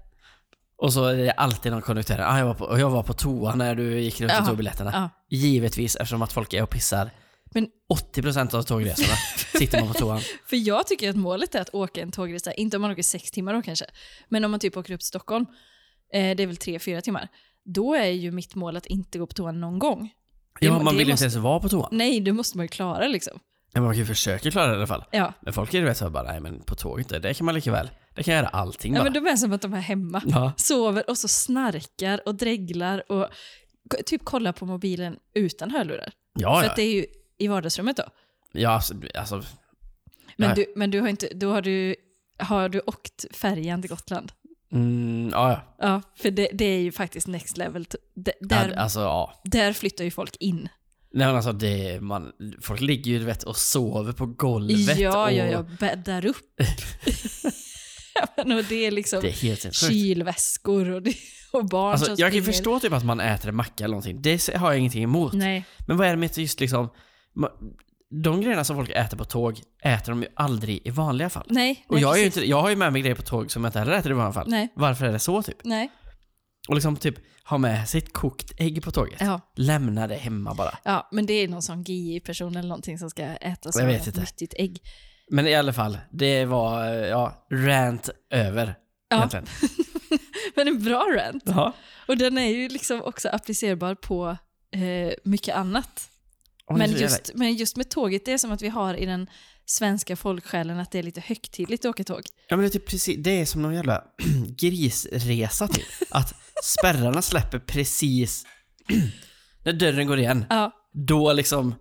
[SPEAKER 2] Och så är det alltid någon konduktör. Ah, jag, var på, och jag var på toa när du gick runt och
[SPEAKER 1] Jaha.
[SPEAKER 2] tog biljetterna.
[SPEAKER 1] Ja.
[SPEAKER 2] Givetvis, eftersom att folk är och pissar.
[SPEAKER 1] Men-
[SPEAKER 2] 80% av tågresorna sitter man på toan.
[SPEAKER 1] För jag tycker att målet är att åka en tågresa, inte om man åker sex timmar då kanske, men om man typ åker upp till Stockholm, eh, det är väl tre, fyra timmar, då är ju mitt mål att inte gå på toan någon gång. Det
[SPEAKER 2] Ja,
[SPEAKER 1] må-
[SPEAKER 2] man
[SPEAKER 1] det
[SPEAKER 2] vill inte
[SPEAKER 1] måste-
[SPEAKER 2] ens vara på toan.
[SPEAKER 1] Nej, det måste man ju klara liksom.
[SPEAKER 2] Ja, men man kan ju försöka klara det i alla fall.
[SPEAKER 1] Ja.
[SPEAKER 2] Men folk är ju rätt så här bara, nej men på tåget, det där kan man lika väl. Det kan jag göra allting
[SPEAKER 1] ja
[SPEAKER 2] bara.
[SPEAKER 1] men de är som att de är hemma,
[SPEAKER 2] Ja.
[SPEAKER 1] sover och så snarkar och dreglar och k- typ kollar på mobilen utan hörlurar.
[SPEAKER 2] Ah, Ja,
[SPEAKER 1] För
[SPEAKER 2] ja.
[SPEAKER 1] att det är ju i vardagsrummet då.
[SPEAKER 2] ja alltså, alltså,
[SPEAKER 1] Men,
[SPEAKER 2] Nej.
[SPEAKER 1] du, men du har inte, då har du, har du åkt färjan till Gotland?
[SPEAKER 2] mm, ja, ja.
[SPEAKER 1] Ja, för det, det är ju faktiskt next level. T- d- där,
[SPEAKER 2] ja. Alltså, ja.
[SPEAKER 1] där flyttar ju folk in.
[SPEAKER 2] Nej, men alltså, det, man, folk ligger ju du vet, och sover på golvet.
[SPEAKER 1] ja,
[SPEAKER 2] och,
[SPEAKER 1] ja, ja, bäddar upp. ja, men och det är liksom
[SPEAKER 2] Det är helt sinnessjukt.
[SPEAKER 1] kylväskor och, det, och barn
[SPEAKER 2] Alltså,
[SPEAKER 1] som
[SPEAKER 2] jag kan ju
[SPEAKER 1] springer.
[SPEAKER 2] förstå typ att man äter en macka eller någonting. Det har jag ingenting emot.
[SPEAKER 1] Nej,
[SPEAKER 2] Men vad är det med att just liksom... ma- De grejerna som folk äter på tåg äter de ju aldrig i vanliga fall.
[SPEAKER 1] nej.
[SPEAKER 2] Och
[SPEAKER 1] nej,
[SPEAKER 2] jag, är ju
[SPEAKER 1] precis.
[SPEAKER 2] inte, jag har ju med mig grejer på tåg som jag inte heller äter i vanliga fall.
[SPEAKER 1] Nej.
[SPEAKER 2] Varför är det så typ?
[SPEAKER 1] Nej,
[SPEAKER 2] Och liksom typ ha med sitt kokt ägg på tåget.
[SPEAKER 1] ja.
[SPEAKER 2] Lämna det hemma bara.
[SPEAKER 1] ja. Men det är någon sån GI-person eller någonting som ska äta
[SPEAKER 2] Jag vet
[SPEAKER 1] ett
[SPEAKER 2] inte.
[SPEAKER 1] nyttigt ägg.
[SPEAKER 2] Men i alla fall, det var eh, ja, rant över.
[SPEAKER 1] Ja.
[SPEAKER 2] Egentligen.
[SPEAKER 1] Men en bra rant.
[SPEAKER 2] Ja.
[SPEAKER 1] Och den är ju liksom också applicerbar på eh, mycket annat.
[SPEAKER 2] Och det är
[SPEAKER 1] Men
[SPEAKER 2] så jävla-
[SPEAKER 1] just, men just med tåget, det är som att vi har i den svenska folksjälen att det är lite högtidligt att åka tåg.
[SPEAKER 2] Ja men det är typ precis, det är som någon jävla grisresa typ. Att spärrarna släpper precis när dörren går igen.
[SPEAKER 1] Ja,
[SPEAKER 2] Då liksom,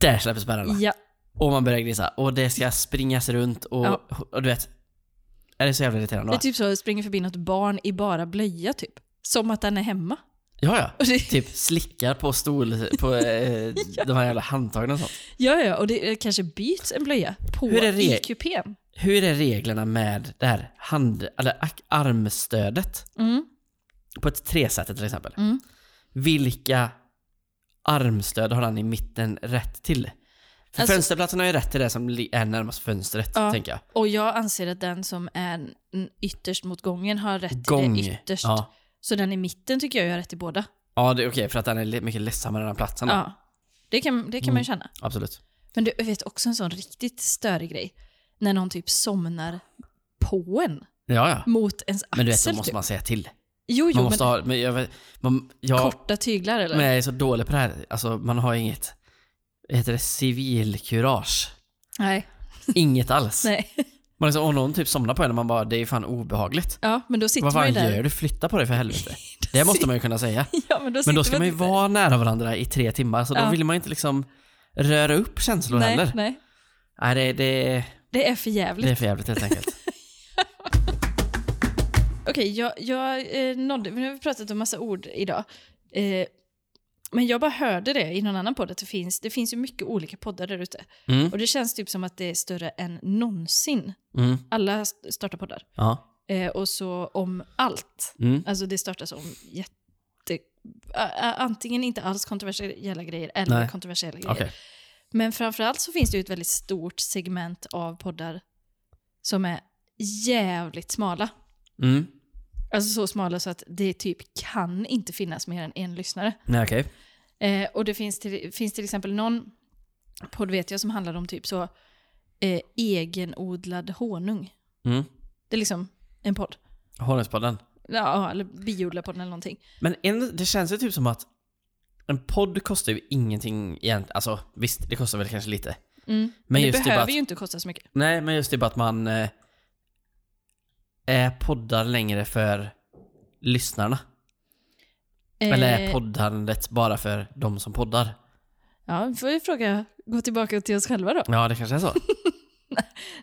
[SPEAKER 2] där släpper spärrarna.
[SPEAKER 1] ja,
[SPEAKER 2] Och man börjar grisa. Och det ska springas runt och,
[SPEAKER 1] Ja.
[SPEAKER 2] och du vet. Är det så jävla irriterande
[SPEAKER 1] det är
[SPEAKER 2] va?
[SPEAKER 1] typ så att det springer förbi något barn i bara blöja typ. Som att den är hemma.
[SPEAKER 2] Ja ja.
[SPEAKER 1] Och det,
[SPEAKER 2] Typ slickar på stol, på eh, de här jävla handtagen och sånt.
[SPEAKER 1] ja, ja, och det eh, kanske byts en blöja på
[SPEAKER 2] Hur är det?
[SPEAKER 1] i kupén.
[SPEAKER 2] Hur är reglerna med det här hand, eller ak- armstödet?
[SPEAKER 1] Mm.
[SPEAKER 2] På ett tresätet till exempel.
[SPEAKER 1] Mm.
[SPEAKER 2] Vilka armstöd har han i mitten rätt till? För
[SPEAKER 1] Alltså-
[SPEAKER 2] fönsterplatsen har ju rätt till det som li- är närmast fönstret,
[SPEAKER 1] Ja.
[SPEAKER 2] tänker jag.
[SPEAKER 1] Och jag anser att den som är n- ytterst mot gången har rätt
[SPEAKER 2] Gång.
[SPEAKER 1] till det ytterst.
[SPEAKER 2] Ja,
[SPEAKER 1] Så den i mitten tycker jag ju har rätt till båda.
[SPEAKER 2] ja det är okej, för att den är li- mycket ledsammare än den platsen. då.
[SPEAKER 1] Ja. Det kan, det kan man ju
[SPEAKER 2] Mm.
[SPEAKER 1] känna.
[SPEAKER 2] Absolut.
[SPEAKER 1] Men du jag vet också en sån riktigt störig grej. När någon typ somnar på en.
[SPEAKER 2] Ja, ja.
[SPEAKER 1] Mot ens axel.
[SPEAKER 2] Men du vet, då måste
[SPEAKER 1] typ.
[SPEAKER 2] man säga till.
[SPEAKER 1] Jo, jo,
[SPEAKER 2] Man måste
[SPEAKER 1] men
[SPEAKER 2] ha, men jag, vet- man, jag,
[SPEAKER 1] korta tyglar eller?
[SPEAKER 2] men jag är så dålig på det här. Alltså, man har inget, heter det civilkurage?
[SPEAKER 1] Nej.
[SPEAKER 2] Inget alls.
[SPEAKER 1] Nej.
[SPEAKER 2] Man liksom, om någon typ somnar på en och man bara, det är ju fan obehagligt.
[SPEAKER 1] Ja, men då sitter
[SPEAKER 2] Vad
[SPEAKER 1] man
[SPEAKER 2] fan
[SPEAKER 1] ju där.
[SPEAKER 2] gör du? Flytta på dig för helvete. Det måste man ju kunna säga.
[SPEAKER 1] Ja, men då,
[SPEAKER 2] Men då
[SPEAKER 1] sitter
[SPEAKER 2] ska man ju
[SPEAKER 1] typ där.
[SPEAKER 2] vara nära varandra i tre timmar, så
[SPEAKER 1] Ja.
[SPEAKER 2] då vill man ju inte liksom röra upp känslor
[SPEAKER 1] nej,
[SPEAKER 2] heller. Nej,
[SPEAKER 1] Nej,
[SPEAKER 2] det, det,
[SPEAKER 1] det är för jävligt.
[SPEAKER 2] det är för jävligt helt enkelt.
[SPEAKER 1] Okej, jag, jag eh, nådde, nu har vi pratat om massa ord idag. Eh, men jag bara hörde det i någon annan podd, att det finns, det finns ju mycket olika poddar där ute.
[SPEAKER 2] Mm,
[SPEAKER 1] Och det känns typ som att det är större än någonsin.
[SPEAKER 2] mm,
[SPEAKER 1] Alla st- startar poddar.
[SPEAKER 2] ja.
[SPEAKER 1] Eh, och så om allt.
[SPEAKER 2] Mm.
[SPEAKER 1] Alltså det startas om jätte... a- a- Antingen inte alls kontroversiella grejer eller
[SPEAKER 2] Nej.
[SPEAKER 1] kontroversiella grejer.
[SPEAKER 2] Okej.
[SPEAKER 1] Men framförallt så finns det ju ett väldigt stort segment av poddar som är jävligt smala.
[SPEAKER 2] Mm.
[SPEAKER 1] Alltså så smala så att det typ kan inte finnas mer än en lyssnare.
[SPEAKER 2] Nej, okej.
[SPEAKER 1] Eh, och det finns till, finns till exempel någon podd vet jag som handlar om typ så eh, egenodlad honung.
[SPEAKER 2] Mm.
[SPEAKER 1] Det är liksom en podd.
[SPEAKER 2] Honungspodden.
[SPEAKER 1] Ja, eller biodlarpodden eller någonting.
[SPEAKER 2] Men en, det känns ju typ som att en podd kostar ju ingenting egentligen. Alltså visst, det kostar väl kanske lite.
[SPEAKER 1] Mm.
[SPEAKER 2] Men
[SPEAKER 1] Men det
[SPEAKER 2] just det
[SPEAKER 1] behöver
[SPEAKER 2] bara att-
[SPEAKER 1] ju inte kosta så mycket.
[SPEAKER 2] Nej, men just det bara att man eh, eh, poddar längre för lyssnarna. Eller är
[SPEAKER 1] Eh,
[SPEAKER 2] poddandet bara för de som poddar?
[SPEAKER 1] Ja, vi får ju fråga, gå tillbaka till oss själva då.
[SPEAKER 2] Ja, det kanske är så.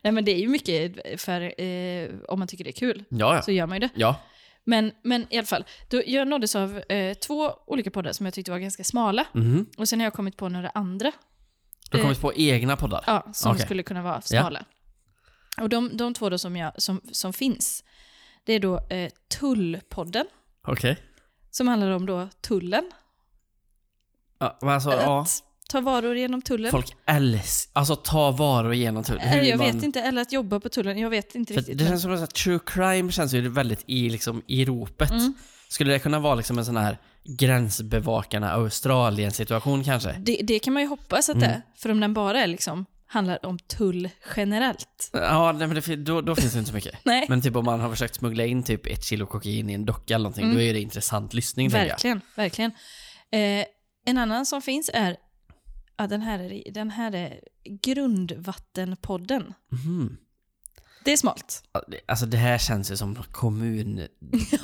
[SPEAKER 1] Nej men det är ju mycket för, eh, om man tycker det är kul,
[SPEAKER 2] Ja, ja.
[SPEAKER 1] så gör man ju det.
[SPEAKER 2] Ja.
[SPEAKER 1] Men, men i alla fall, då, jag nåddes av eh, två olika poddar som jag tyckte var ganska smala.
[SPEAKER 2] Mhm.
[SPEAKER 1] Och sen har jag kommit på några andra
[SPEAKER 2] Du har
[SPEAKER 1] Eh,
[SPEAKER 2] kommit på egna poddar?
[SPEAKER 1] ja, som
[SPEAKER 2] Okej.
[SPEAKER 1] skulle kunna vara smala. Och de, de två då som, jag, som, som finns, det är då eh, Tullpodden,
[SPEAKER 2] Okej.
[SPEAKER 1] som handlar om då tullen.
[SPEAKER 2] Ja, men alltså, ja.
[SPEAKER 1] Att ta varor genom tullen.
[SPEAKER 2] Folk älskar... Alltså ta varor genom tullen.
[SPEAKER 1] Eller Eh, jag vet inte, eller att jobba på tullen, jag vet inte
[SPEAKER 2] För
[SPEAKER 1] riktigt.
[SPEAKER 2] det
[SPEAKER 1] men-
[SPEAKER 2] känns som att true crime känns ju väldigt i, liksom, i ropet.
[SPEAKER 1] Mm.
[SPEAKER 2] Skulle det kunna vara liksom en sån här gränsbevakarna Australien situation kanske?
[SPEAKER 1] Det, det kan man ju hoppas att
[SPEAKER 2] Mm.
[SPEAKER 1] det är, för om den bara är liksom, handlar om tull generellt.
[SPEAKER 2] Ja, nej, men det, fin- då, då finns det inte så mycket.
[SPEAKER 1] Nej,
[SPEAKER 2] Men typ om man har försökt smuggla in typ ett kilo kokain i en docka eller någonting,
[SPEAKER 1] Mm.
[SPEAKER 2] då är det intressant lyssning tänker jag.
[SPEAKER 1] verkligen. verkligen. Eh, en annan som finns är, ja, den, här är den här är Grundvattenpodden.
[SPEAKER 2] Mhm.
[SPEAKER 1] Det är smalt.
[SPEAKER 2] Ja, det- Alltså det här känns ju som någon
[SPEAKER 1] Ja,
[SPEAKER 2] kommungrej.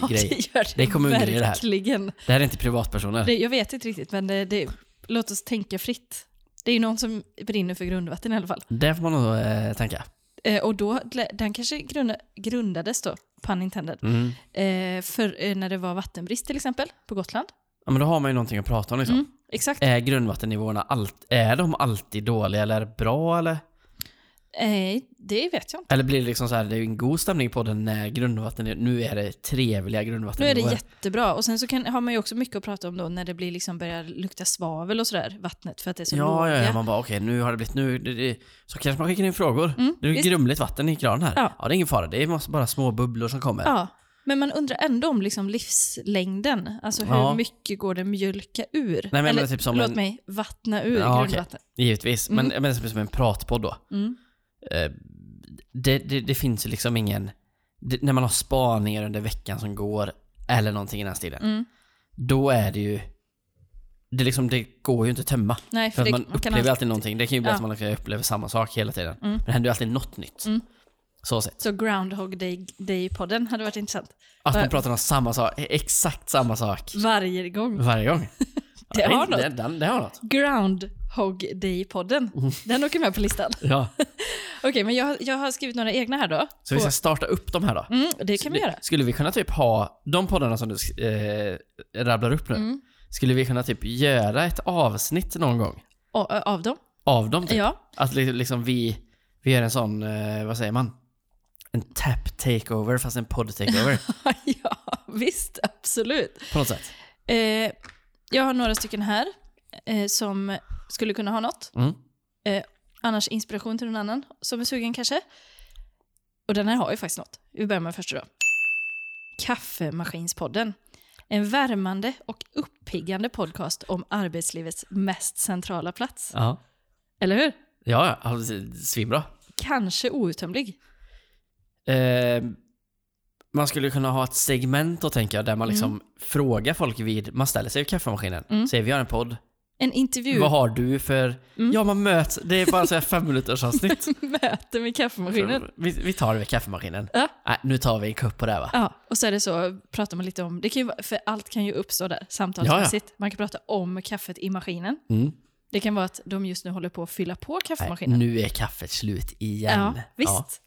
[SPEAKER 1] det gör det.
[SPEAKER 2] Det är kommungrej det här.
[SPEAKER 1] Verkligen.
[SPEAKER 2] Det här är inte privatpersoner.
[SPEAKER 1] Det, jag vet inte riktigt, men det, det, låt oss tänka fritt. Det är ju någon som brinner för grundvatten i alla fall.
[SPEAKER 2] Det får man nog eh, tänka.
[SPEAKER 1] Eh, och då, den kanske grunda, grundades då, pun intended,
[SPEAKER 2] Mm.
[SPEAKER 1] eh, för, eh, när det var vattenbrist till exempel på Gotland.
[SPEAKER 2] Ja, men då har man ju någonting att prata om liksom.
[SPEAKER 1] Mm, exakt.
[SPEAKER 2] Är grundvattennivåerna allt, är de alltid dåliga eller är det bra eller?
[SPEAKER 1] Eh, det vet jag inte.
[SPEAKER 2] Eller blir det liksom så här, det är ju en god stämning på den när grundvatten, nu är det trevliga
[SPEAKER 1] Nu är det
[SPEAKER 2] grundvattennivåer.
[SPEAKER 1] jättebra. Och sen så kan, har man ju också mycket att prata om då när det blir liksom börjar lukta svavel och sådär, vattnet, för att det är så
[SPEAKER 2] Ja,
[SPEAKER 1] låga.
[SPEAKER 2] ja, ja, man bara okej, nu har det blivit, nu, det, det, så kanske man skickar in frågor.
[SPEAKER 1] Mm,
[SPEAKER 2] det är
[SPEAKER 1] visst.
[SPEAKER 2] grumligt vatten i kranen här. Ja.
[SPEAKER 1] Ja.
[SPEAKER 2] det är ingen fara, det är massa- bara små bubblor som kommer.
[SPEAKER 1] Ja, men man undrar ändå om liksom livslängden. Alltså hur
[SPEAKER 2] Ja.
[SPEAKER 1] mycket går det mjölka ur?
[SPEAKER 2] men
[SPEAKER 1] Eller,
[SPEAKER 2] typ som
[SPEAKER 1] låt
[SPEAKER 2] en-
[SPEAKER 1] mig, vattna ur
[SPEAKER 2] Ja, okej.
[SPEAKER 1] grundvatten.
[SPEAKER 2] Givetvis, men, men som som en pratpodd då.
[SPEAKER 1] Mm.
[SPEAKER 2] Eh, Det, det, det finns ju liksom ingen, det, när man har spaningar under veckan som går, eller någonting i den här stilen,
[SPEAKER 1] Mm.
[SPEAKER 2] då är det ju, det, liksom, det går ju inte att tömma.
[SPEAKER 1] Nej,
[SPEAKER 2] För
[SPEAKER 1] för
[SPEAKER 2] att
[SPEAKER 1] det,
[SPEAKER 2] man,
[SPEAKER 1] kan
[SPEAKER 2] upplever
[SPEAKER 1] alltid-
[SPEAKER 2] alltid, någonting. Det kan ju bli
[SPEAKER 1] Ja.
[SPEAKER 2] att man liksom upplever samma sak hela tiden.
[SPEAKER 1] Mm.
[SPEAKER 2] Men det händer ju alltid något nytt.
[SPEAKER 1] Mm.
[SPEAKER 2] Så sett.
[SPEAKER 1] Så Groundhog Day- Day-podden hade varit intressant.
[SPEAKER 2] Att man
[SPEAKER 1] Var-
[SPEAKER 2] pratar om samma sak, exakt samma sak
[SPEAKER 1] Varje gång.
[SPEAKER 2] varje gång.
[SPEAKER 1] Det
[SPEAKER 2] Ja,
[SPEAKER 1] har
[SPEAKER 2] det,
[SPEAKER 1] något.
[SPEAKER 2] Det, den- det har något.
[SPEAKER 1] Groundhog Day-podden. Den åker med på listan.
[SPEAKER 2] Ja.
[SPEAKER 1] Okej, men jag, jag har skrivit några egna här då.
[SPEAKER 2] Så vi
[SPEAKER 1] På-
[SPEAKER 2] ska starta upp de här då.
[SPEAKER 1] mm, det kan vi göra.
[SPEAKER 2] Skulle vi kunna typ ha, de poddarna som du eh, rabblar upp nu,
[SPEAKER 1] Mm.
[SPEAKER 2] skulle vi kunna typ göra ett avsnitt någon gång
[SPEAKER 1] Av, av dem.
[SPEAKER 2] av dem? Typ?
[SPEAKER 1] Ja.
[SPEAKER 2] Att li- liksom vi, vi gör en sån, eh, vad säger man? En tap takeover fast en podd takeover
[SPEAKER 1] ja, visst. Absolut.
[SPEAKER 2] på något sätt.
[SPEAKER 1] Eh, jag har några stycken här eh, som skulle kunna ha något.
[SPEAKER 2] Mm.
[SPEAKER 1] Annars inspiration till någon annan som är sugen kanske. Och den här har ju faktiskt något. Vi börjar med första då. Kaffemaskinspodden. En värmande och uppiggande podcast om arbetslivets mest centrala plats.
[SPEAKER 2] Ja.
[SPEAKER 1] Eller hur?
[SPEAKER 2] Ja, ja, alltså, svinbra.
[SPEAKER 1] Kanske outtömlig.
[SPEAKER 2] Eh, man skulle kunna ha ett segment då tänker jag, där
[SPEAKER 1] Mm.
[SPEAKER 2] man liksom frågar folk vid, man ställer sig vid kaffemaskinen, säger vi har en podd,
[SPEAKER 1] En intervju,
[SPEAKER 2] vad har du för,
[SPEAKER 1] Mm.
[SPEAKER 2] ja man möts, det är bara så här fem minuters avsnitt.
[SPEAKER 1] möte med kaffemaskinen.
[SPEAKER 2] vi, vi tar det vid kaffemaskinen.
[SPEAKER 1] Ja.
[SPEAKER 2] Nej, nu tar vi en kupp på det här va?
[SPEAKER 1] Ja, och så är det så, pratar man lite om, det kan ju, vara- för allt kan ju uppstå där samtalsmässigt. Man kan prata om kaffet i maskinen.
[SPEAKER 2] Mm.
[SPEAKER 1] Det kan vara att de just nu håller på att fylla på
[SPEAKER 2] Nej,
[SPEAKER 1] kaffemaskinen.
[SPEAKER 2] nu är kaffet slut igen.
[SPEAKER 1] ja, visst.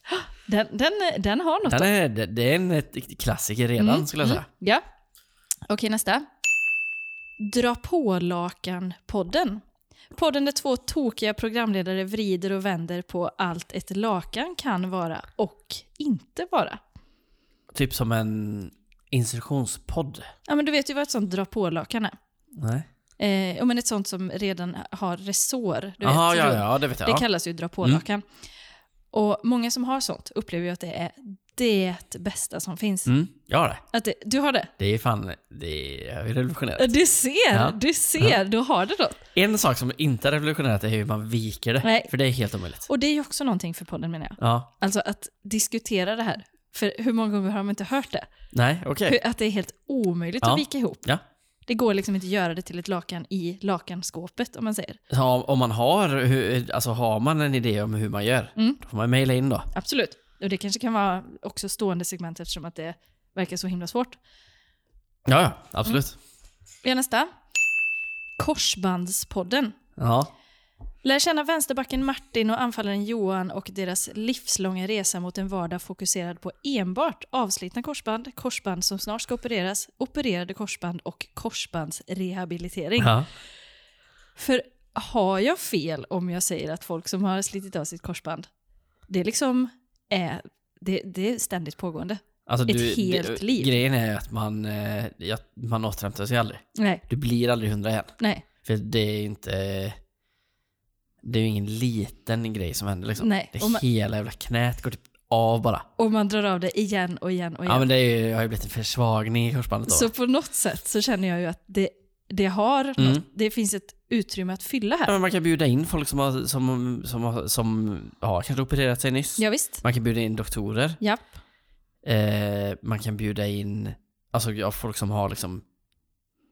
[SPEAKER 1] Den, den, den har något.
[SPEAKER 2] Den är, det- det är en ett klassiker redan
[SPEAKER 1] Mm,
[SPEAKER 2] skulle jag säga.
[SPEAKER 1] Ja. Okej, nästa. Dra på lakan-podden. Podden där två tokiga programledare vrider och vänder på allt ett lakan kan vara och inte vara. mm.
[SPEAKER 2] Typ som en instruktionspodd.
[SPEAKER 1] Ja, men du vet ju vad ett sånt dra på-lakan är.
[SPEAKER 2] Nej.
[SPEAKER 1] Eh, ja, men ett sånt som redan har resår. Du
[SPEAKER 2] Jaha,
[SPEAKER 1] vet,
[SPEAKER 2] ja,
[SPEAKER 1] runt.
[SPEAKER 2] ja, Mm. det vet jag.
[SPEAKER 1] Det
[SPEAKER 2] ja.
[SPEAKER 1] kallas ju dra på-lakan. Och många som har sånt upplever ju att det är det bästa som finns.
[SPEAKER 2] Mm, jag har det.
[SPEAKER 1] Att det, du har det?
[SPEAKER 2] Det är fan, det är revolutionärt.
[SPEAKER 1] Ja, Du ser,
[SPEAKER 2] Ja.
[SPEAKER 1] du ser, du har det då.
[SPEAKER 2] En sak som inte är revolutionärt är hur man viker det.
[SPEAKER 1] Nej.
[SPEAKER 2] För det är helt omöjligt.
[SPEAKER 1] Och det är ju också någonting för podden menar jag.
[SPEAKER 2] Ja.
[SPEAKER 1] Alltså att diskutera det här. För hur många gånger har de inte hört det?
[SPEAKER 2] Nej, okej.
[SPEAKER 1] Hur, att det är helt omöjligt
[SPEAKER 2] Ja.
[SPEAKER 1] att vika ihop.
[SPEAKER 2] Ja.
[SPEAKER 1] Det går liksom inte att göra det till ett lakan i lakanskåpet om man säger.
[SPEAKER 2] Så Om om man har, hur- alltså har man en idé om hur man gör,
[SPEAKER 1] Mm.
[SPEAKER 2] då får man mejla in då.
[SPEAKER 1] Absolut. Och det kanske kan vara också stående segment eftersom att det verkar så himla svårt.
[SPEAKER 2] Ja, ja, absolut.
[SPEAKER 1] Vi har nästa. Korsbandspodden.
[SPEAKER 2] Ja.
[SPEAKER 1] Lär känna vänsterbacken Martin och anfallaren Johan och deras livslånga resa mot en vardag fokuserad på enbart avslitna korsband, korsband som snart ska opereras, opererade korsband och korsbandsrehabilitering.
[SPEAKER 2] ja.
[SPEAKER 1] För har jag fel om jag säger att folk som har slitit av sitt korsband, det liksom är, det, det är ständigt pågående.
[SPEAKER 2] Alltså,
[SPEAKER 1] Ett helt
[SPEAKER 2] det,
[SPEAKER 1] liv.
[SPEAKER 2] Grejen är ju att man, eh, ja, man återhämtar sig aldrig.
[SPEAKER 1] Nej,
[SPEAKER 2] Du blir aldrig hundra igen.
[SPEAKER 1] nej,
[SPEAKER 2] För det är ju inte... Det är ju ingen liten grej som händer liksom.
[SPEAKER 1] Nej,
[SPEAKER 2] Det är
[SPEAKER 1] och man-
[SPEAKER 2] hela jävla knät går typ av bara.
[SPEAKER 1] och man drar av det igen och igen och igen.
[SPEAKER 2] Ja men det är ju, har ju blivit en försvagning i korsbandet då.
[SPEAKER 1] Så på något sätt så känner jag ju att det, det har
[SPEAKER 2] Mm.
[SPEAKER 1] något, det finns ett utrymme att fylla
[SPEAKER 2] Ja,
[SPEAKER 1] här.
[SPEAKER 2] men man kan bjuda in folk som har, som, som, har, som har kanske opererat sig nyss.
[SPEAKER 1] Ja, visst.
[SPEAKER 2] Man kan bjuda in doktorer.
[SPEAKER 1] Japp.
[SPEAKER 2] Eh, man kan bjuda in alltså, ja, folk som har liksom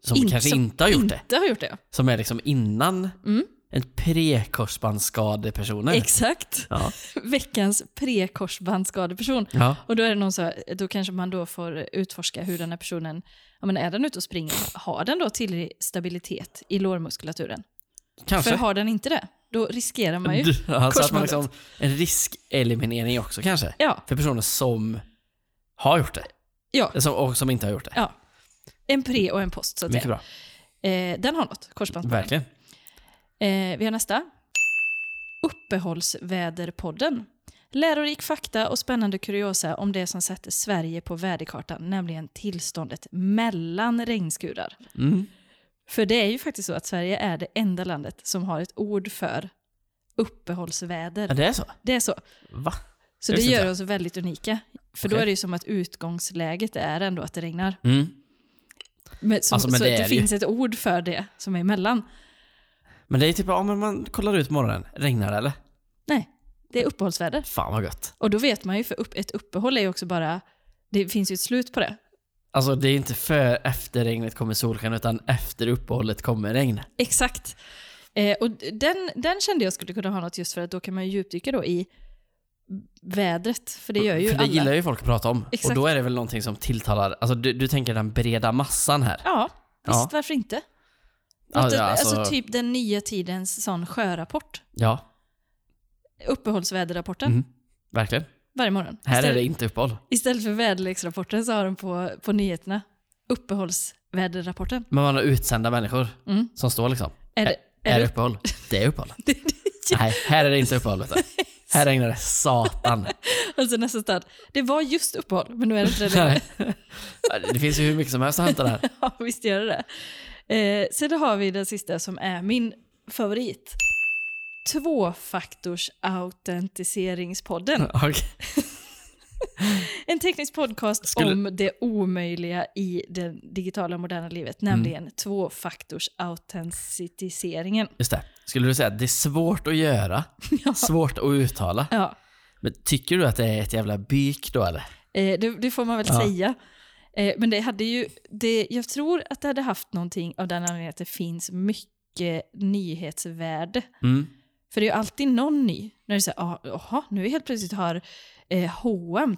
[SPEAKER 2] som
[SPEAKER 1] Inte-
[SPEAKER 2] kanske
[SPEAKER 1] som
[SPEAKER 2] inte har gjort det.
[SPEAKER 1] Inte har gjort det.
[SPEAKER 2] Som är liksom innan
[SPEAKER 1] Mm.
[SPEAKER 2] en pre-korsbandsskadepersoner.
[SPEAKER 1] Exakt.
[SPEAKER 2] ja.
[SPEAKER 1] Veckans prekorsbandsskadeperson.
[SPEAKER 2] ja.
[SPEAKER 1] Och då är det någon så, då kanske man då får utforska hur den här personen, ja men är den ute och springer, har den då tillräcklig stabilitet i lårmuskulaturen?
[SPEAKER 2] Kanske.
[SPEAKER 1] För har den inte det, då riskerar man ju.
[SPEAKER 2] Du- Alltså att man
[SPEAKER 1] korsbandet.
[SPEAKER 2] liksom, en riskeliminering också kanske.
[SPEAKER 1] Ja,
[SPEAKER 2] För personer som har gjort det.
[SPEAKER 1] ja.
[SPEAKER 2] Som, och som inte har gjort det.
[SPEAKER 1] Ja, En pre och en post så att
[SPEAKER 2] Mycket
[SPEAKER 1] säga.
[SPEAKER 2] bra.
[SPEAKER 1] Eh, den har något, korsbandsskadan.
[SPEAKER 2] Verkligen.
[SPEAKER 1] Eh, vi har nästa. Uppehållsväderpodden. Lärorik fakta och spännande kuriosa om det som sätter Sverige på väderkartan, nämligen tillståndet mellan regnskurar.
[SPEAKER 2] Mm.
[SPEAKER 1] För det är ju faktiskt så att Sverige är det enda landet som har ett ord för
[SPEAKER 2] Ja,
[SPEAKER 1] uppehållsväder.
[SPEAKER 2] det är så?
[SPEAKER 1] Det är så.
[SPEAKER 2] Va?
[SPEAKER 1] Så
[SPEAKER 2] Jag
[SPEAKER 1] det
[SPEAKER 2] visste
[SPEAKER 1] gör
[SPEAKER 2] inte.
[SPEAKER 1] oss väldigt unika. För då
[SPEAKER 2] Okej.
[SPEAKER 1] är det ju som att utgångsläget är ändå att det regnar.
[SPEAKER 2] Mm.
[SPEAKER 1] Men, som,
[SPEAKER 2] Alltså, men
[SPEAKER 1] så
[SPEAKER 2] det
[SPEAKER 1] att det,
[SPEAKER 2] är det ju.
[SPEAKER 1] finns ett ord för det som är emellan.
[SPEAKER 2] Men det är typ, ja men man kollar ut morgonen. Regnar det eller?
[SPEAKER 1] Nej, det är uppehållsväder.
[SPEAKER 2] Fan vad gött.
[SPEAKER 1] Och då vet man ju, för upp, ett uppehåll är ju också bara, det finns ju ett slut på det.
[SPEAKER 2] Alltså det är inte för efter regnet kommer solsken utan efter uppehållet kommer regn.
[SPEAKER 1] Exakt. Eh, och den, den kände jag skulle kunna ha något just för att då kan man ju djupdyka då i vädret, för det gör ju
[SPEAKER 2] För det
[SPEAKER 1] alla.
[SPEAKER 2] gillar ju folk att prata om.
[SPEAKER 1] Exakt.
[SPEAKER 2] Och då är det väl någonting som tilltalar, alltså du, du tänker den breda massan här.
[SPEAKER 1] Ja, visst
[SPEAKER 2] Ja.
[SPEAKER 1] varför inte? Något,
[SPEAKER 2] Ja, ja,
[SPEAKER 1] alltså,
[SPEAKER 2] alltså-
[SPEAKER 1] typ den nya tidens sån sjörapport.
[SPEAKER 2] Ja,
[SPEAKER 1] Uppehållsväderrapporten
[SPEAKER 2] Mm. verkligen.
[SPEAKER 1] varje morgon.
[SPEAKER 2] Här är
[SPEAKER 1] istället,
[SPEAKER 2] det inte uppehåll.
[SPEAKER 1] istället för väderleksrapporten så har de på, på nyheterna uppehållsväderrapporten.
[SPEAKER 2] Men man har utsända människor
[SPEAKER 1] Mm.
[SPEAKER 2] som står liksom.
[SPEAKER 1] Är det,
[SPEAKER 2] Är,
[SPEAKER 1] är
[SPEAKER 2] det
[SPEAKER 1] det,
[SPEAKER 2] uppehåll? Det är uppehåll.
[SPEAKER 1] det,
[SPEAKER 2] Nej, här är det inte uppehåll vet du. Här regnar det satan.
[SPEAKER 1] alltså nästa stad. Det var just uppehåll, men nu är det inte det längre.
[SPEAKER 2] Nej. Det finns ju hur mycket som helst att hämta där.
[SPEAKER 1] Ja, visst gör det det. Eh, sen har vi den sista som är min favorit. Tvåfaktors autentiseringspodden.
[SPEAKER 2] Okej.
[SPEAKER 1] En teknisk podcast
[SPEAKER 2] Skulle-
[SPEAKER 1] om det omöjliga i det digitala moderna livet,
[SPEAKER 2] Mm.
[SPEAKER 1] nämligen tvåfaktors autentiseringen.
[SPEAKER 2] Just det. Skulle du säga att det är svårt att göra,
[SPEAKER 1] Ja.
[SPEAKER 2] svårt att uttala.
[SPEAKER 1] Ja,
[SPEAKER 2] Men tycker du att det är ett jävla byk då eller?
[SPEAKER 1] eh, det, det får man väl
[SPEAKER 2] Ja.
[SPEAKER 1] säga. Eh, men det hade ju, det, jag tror att det hade haft någonting av den anledningen att det finns mycket nyhetsvärde
[SPEAKER 2] Mm.
[SPEAKER 1] För det är ju alltid någon ny. När du säger, "Ah, jaha, nu är helt plötsligt har eh, H&M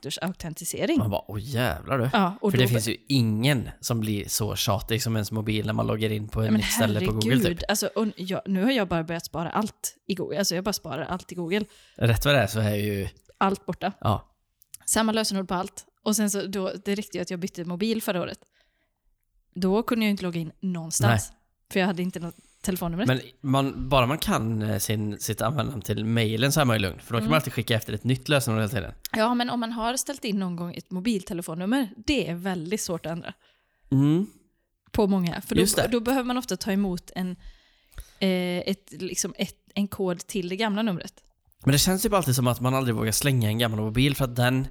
[SPEAKER 1] tvåfaktorsautentisering.
[SPEAKER 2] Man bara, åh jävlar du.
[SPEAKER 1] Ja, och
[SPEAKER 2] För
[SPEAKER 1] då,
[SPEAKER 2] det finns ju ingen som blir så tjatig som ens mobil när man loggar in på ett
[SPEAKER 1] Ja, men
[SPEAKER 2] nytt ställe på Google typ.
[SPEAKER 1] herregud, Alltså, och jag, nu har jag bara börjat spara allt i Google. Alltså jag bara sparar allt i Google.
[SPEAKER 2] Rätt vad det är så är ju,
[SPEAKER 1] Allt borta.
[SPEAKER 2] ja.
[SPEAKER 1] Samma lösenord på allt. Och sen så, då, det räckte ju att jag bytte mobil förra året. Då kunde jag ju inte logga in någonstans. För jag hade inte något telefonnummer.
[SPEAKER 2] Men man, bara man kan eh, sin, sitt användarnamn till mejlen så är man ju lugn.
[SPEAKER 1] Mm.
[SPEAKER 2] För då kan man alltid skicka efter ett nytt lösenord hela tiden.
[SPEAKER 1] Ja, men om man har ställt in någon gång ett mobiltelefonnummer, det är väldigt svårt att ändra.
[SPEAKER 2] Mm.
[SPEAKER 1] på många. För
[SPEAKER 2] Just
[SPEAKER 1] då,
[SPEAKER 2] det.
[SPEAKER 1] då behöver man ofta ta emot en, eh, ett, liksom ett, en kod till det gamla numret.
[SPEAKER 2] Men det känns typ alltid som att man aldrig vågar slänga en gammal mobil för att den,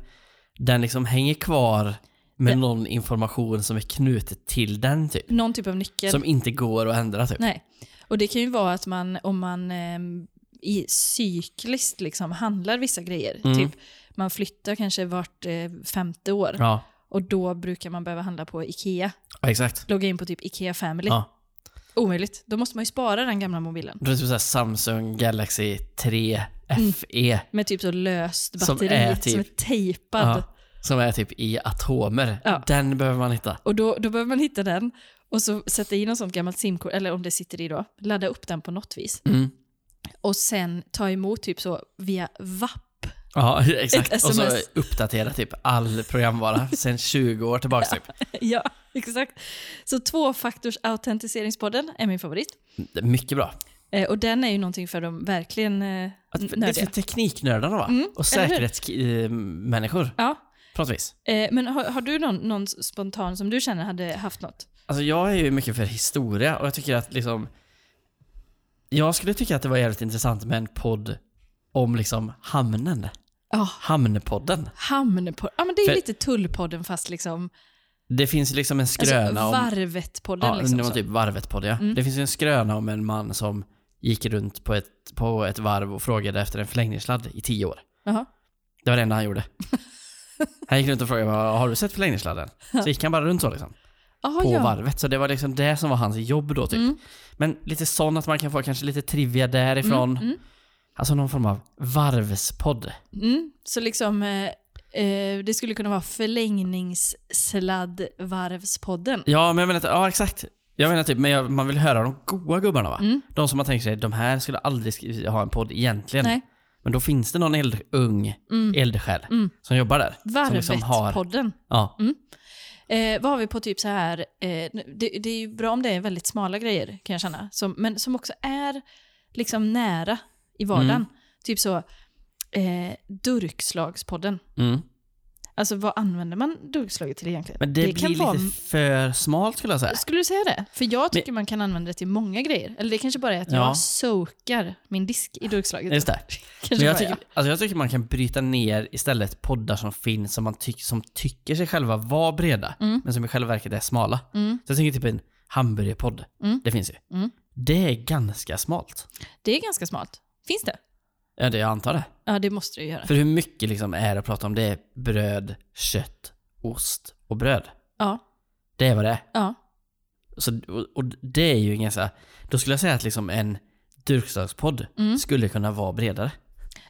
[SPEAKER 2] den liksom hänger kvar med
[SPEAKER 1] Det-
[SPEAKER 2] någon information som är knutet till den typ.
[SPEAKER 1] Någon typ av nyckel.
[SPEAKER 2] Som inte går att ändra typ.
[SPEAKER 1] Nej. Och det kan ju vara att man, om man ehm, i cykliskt liksom handlar vissa grejer,
[SPEAKER 2] Mm.
[SPEAKER 1] typ man flyttar kanske vart eh, femte år
[SPEAKER 2] Ja,
[SPEAKER 1] och då brukar man behöva handla på Ikea.
[SPEAKER 2] ja exakt.
[SPEAKER 1] Logga in på typ Ikea Family.
[SPEAKER 2] Ja.
[SPEAKER 1] Omöjligt. Då måste man ju spara den gamla mobilen.
[SPEAKER 2] Det är typ såhär Samsung Galaxy E. 3 FE.
[SPEAKER 1] Med typ så löst
[SPEAKER 2] Som
[SPEAKER 1] batteri som
[SPEAKER 2] är
[SPEAKER 1] är,
[SPEAKER 2] typ-
[SPEAKER 1] tejpad.
[SPEAKER 2] Ja, som är typ i atomer.
[SPEAKER 1] Ja.
[SPEAKER 2] Den behöver man hitta.
[SPEAKER 1] Och då, då behöver man hitta den och så sätta in något sånt gammalt simkort, eller om det sitter i då, ladda upp den på något vis.
[SPEAKER 2] Mm.
[SPEAKER 1] Och sen ta emot typ så via VAP.
[SPEAKER 2] Ja, exakt.
[SPEAKER 1] Ett
[SPEAKER 2] Och så
[SPEAKER 1] SMS.
[SPEAKER 2] uppdatera typ all programvara sen 20 år tillbaka typ.
[SPEAKER 1] ja, exakt. Så tvåfaktorsautentiseringsbodden är min favorit.
[SPEAKER 2] Det är Mycket bra.
[SPEAKER 1] Eh, och den är ju någonting för de verkligen eh,
[SPEAKER 2] Att, det är för
[SPEAKER 1] nördiga.
[SPEAKER 2] tekniknördarna va?
[SPEAKER 1] Mm,
[SPEAKER 2] Och
[SPEAKER 1] eller hur?
[SPEAKER 2] säkerhetsmänniskor
[SPEAKER 1] Ja,
[SPEAKER 2] på något vis.
[SPEAKER 1] eh, men har, har du någon, någon spontan som du känner hade haft något?
[SPEAKER 2] Alltså jag är ju mycket för historia och jag tycker att liksom Jag skulle tycka att det var jävligt intressant med en podd om liksom hamnen.
[SPEAKER 1] Ja,
[SPEAKER 2] Hamnpodden.
[SPEAKER 1] hamn på... Ja, men det är
[SPEAKER 2] För-
[SPEAKER 1] lite Tullpodden fast liksom...
[SPEAKER 2] Det finns ju liksom en
[SPEAKER 1] Alltså
[SPEAKER 2] skröna om...
[SPEAKER 1] Varvet-podden
[SPEAKER 2] ja,
[SPEAKER 1] liksom.
[SPEAKER 2] det var
[SPEAKER 1] så. Mm.
[SPEAKER 2] typ varvet på det. ja. Det finns ju en skröna om en man som gick runt på ett, på ett varv och frågade efter en förlängningssladd i tio år.
[SPEAKER 1] Jaha.
[SPEAKER 2] Det var det enda han gjorde. Han gick runt och frågade bara, har du sett förlängningssladden? Så gick han bara runt så liksom.
[SPEAKER 1] Ah,
[SPEAKER 2] På
[SPEAKER 1] ja.
[SPEAKER 2] varvet. Så det var liksom det som var hans jobb då typ.
[SPEAKER 1] Mm.
[SPEAKER 2] Men lite sån att man kan få kanske lite trivia därifrån. Alltså någon form av varvspodd.
[SPEAKER 1] Mm, så liksom, eh, eh, det skulle kunna vara förlängningssladdvarvspodden.
[SPEAKER 2] Ja, men jag menar, att- ja exakt. Jag menar typ, men jag, man vill höra de goa gubbarna va?
[SPEAKER 1] Mm.
[SPEAKER 2] De som man tänker sig, de här skulle aldrig skri- ha en podd egentligen.
[SPEAKER 1] Nej.
[SPEAKER 2] Men då finns det någon eld, ung
[SPEAKER 1] Mm.
[SPEAKER 2] eldsjäl
[SPEAKER 1] Mm.
[SPEAKER 2] som jobbar där. Som liksom har,
[SPEAKER 1] Varvet-podden.
[SPEAKER 2] ja,
[SPEAKER 1] Eh, vad har vi på typ så här, eh, det, det är ju bra om det är väldigt smala grejer kan jag känna, som, men som också är liksom nära i vardagen.
[SPEAKER 2] Mm.
[SPEAKER 1] Typ så, eh, durkslagspodden.
[SPEAKER 2] mm.
[SPEAKER 1] Alltså vad använder man durkslaget till egentligen?
[SPEAKER 2] Men det, blir lite för smalt skulle jag säga.
[SPEAKER 1] Skulle du säga det? För jag tycker man kan använda det till många grejer. Eller det kanske bara är att
[SPEAKER 2] Ja.
[SPEAKER 1] jag soakar min disk i durkslaget.
[SPEAKER 2] Just det.
[SPEAKER 1] Kanske
[SPEAKER 2] Men jag,
[SPEAKER 1] bara
[SPEAKER 2] tycker, alltså jag tycker man kan bryta ner istället poddar som finns som man tyck, som tycker sig själva vara breda,
[SPEAKER 1] Mm.
[SPEAKER 2] men som i själva verket är smala.
[SPEAKER 1] Mm.
[SPEAKER 2] Så jag tänker typ en hamburgerpodd.
[SPEAKER 1] Mm.
[SPEAKER 2] Det finns ju.
[SPEAKER 1] Mm.
[SPEAKER 2] Det är ganska smalt.
[SPEAKER 1] Det är ganska smart. Finns det?
[SPEAKER 2] Ja, det jag antar det.
[SPEAKER 1] Ja, det måste det ju göra.
[SPEAKER 2] För hur mycket liksom är det att prata om? Det är bröd, kött, ost och bröd.
[SPEAKER 1] Ja,
[SPEAKER 2] Det är vad det är.
[SPEAKER 1] ja.
[SPEAKER 2] Så, och, och det är ju ingen så här, Då skulle jag säga att liksom en durkslagspodd
[SPEAKER 1] Mm.
[SPEAKER 2] skulle kunna vara bredare.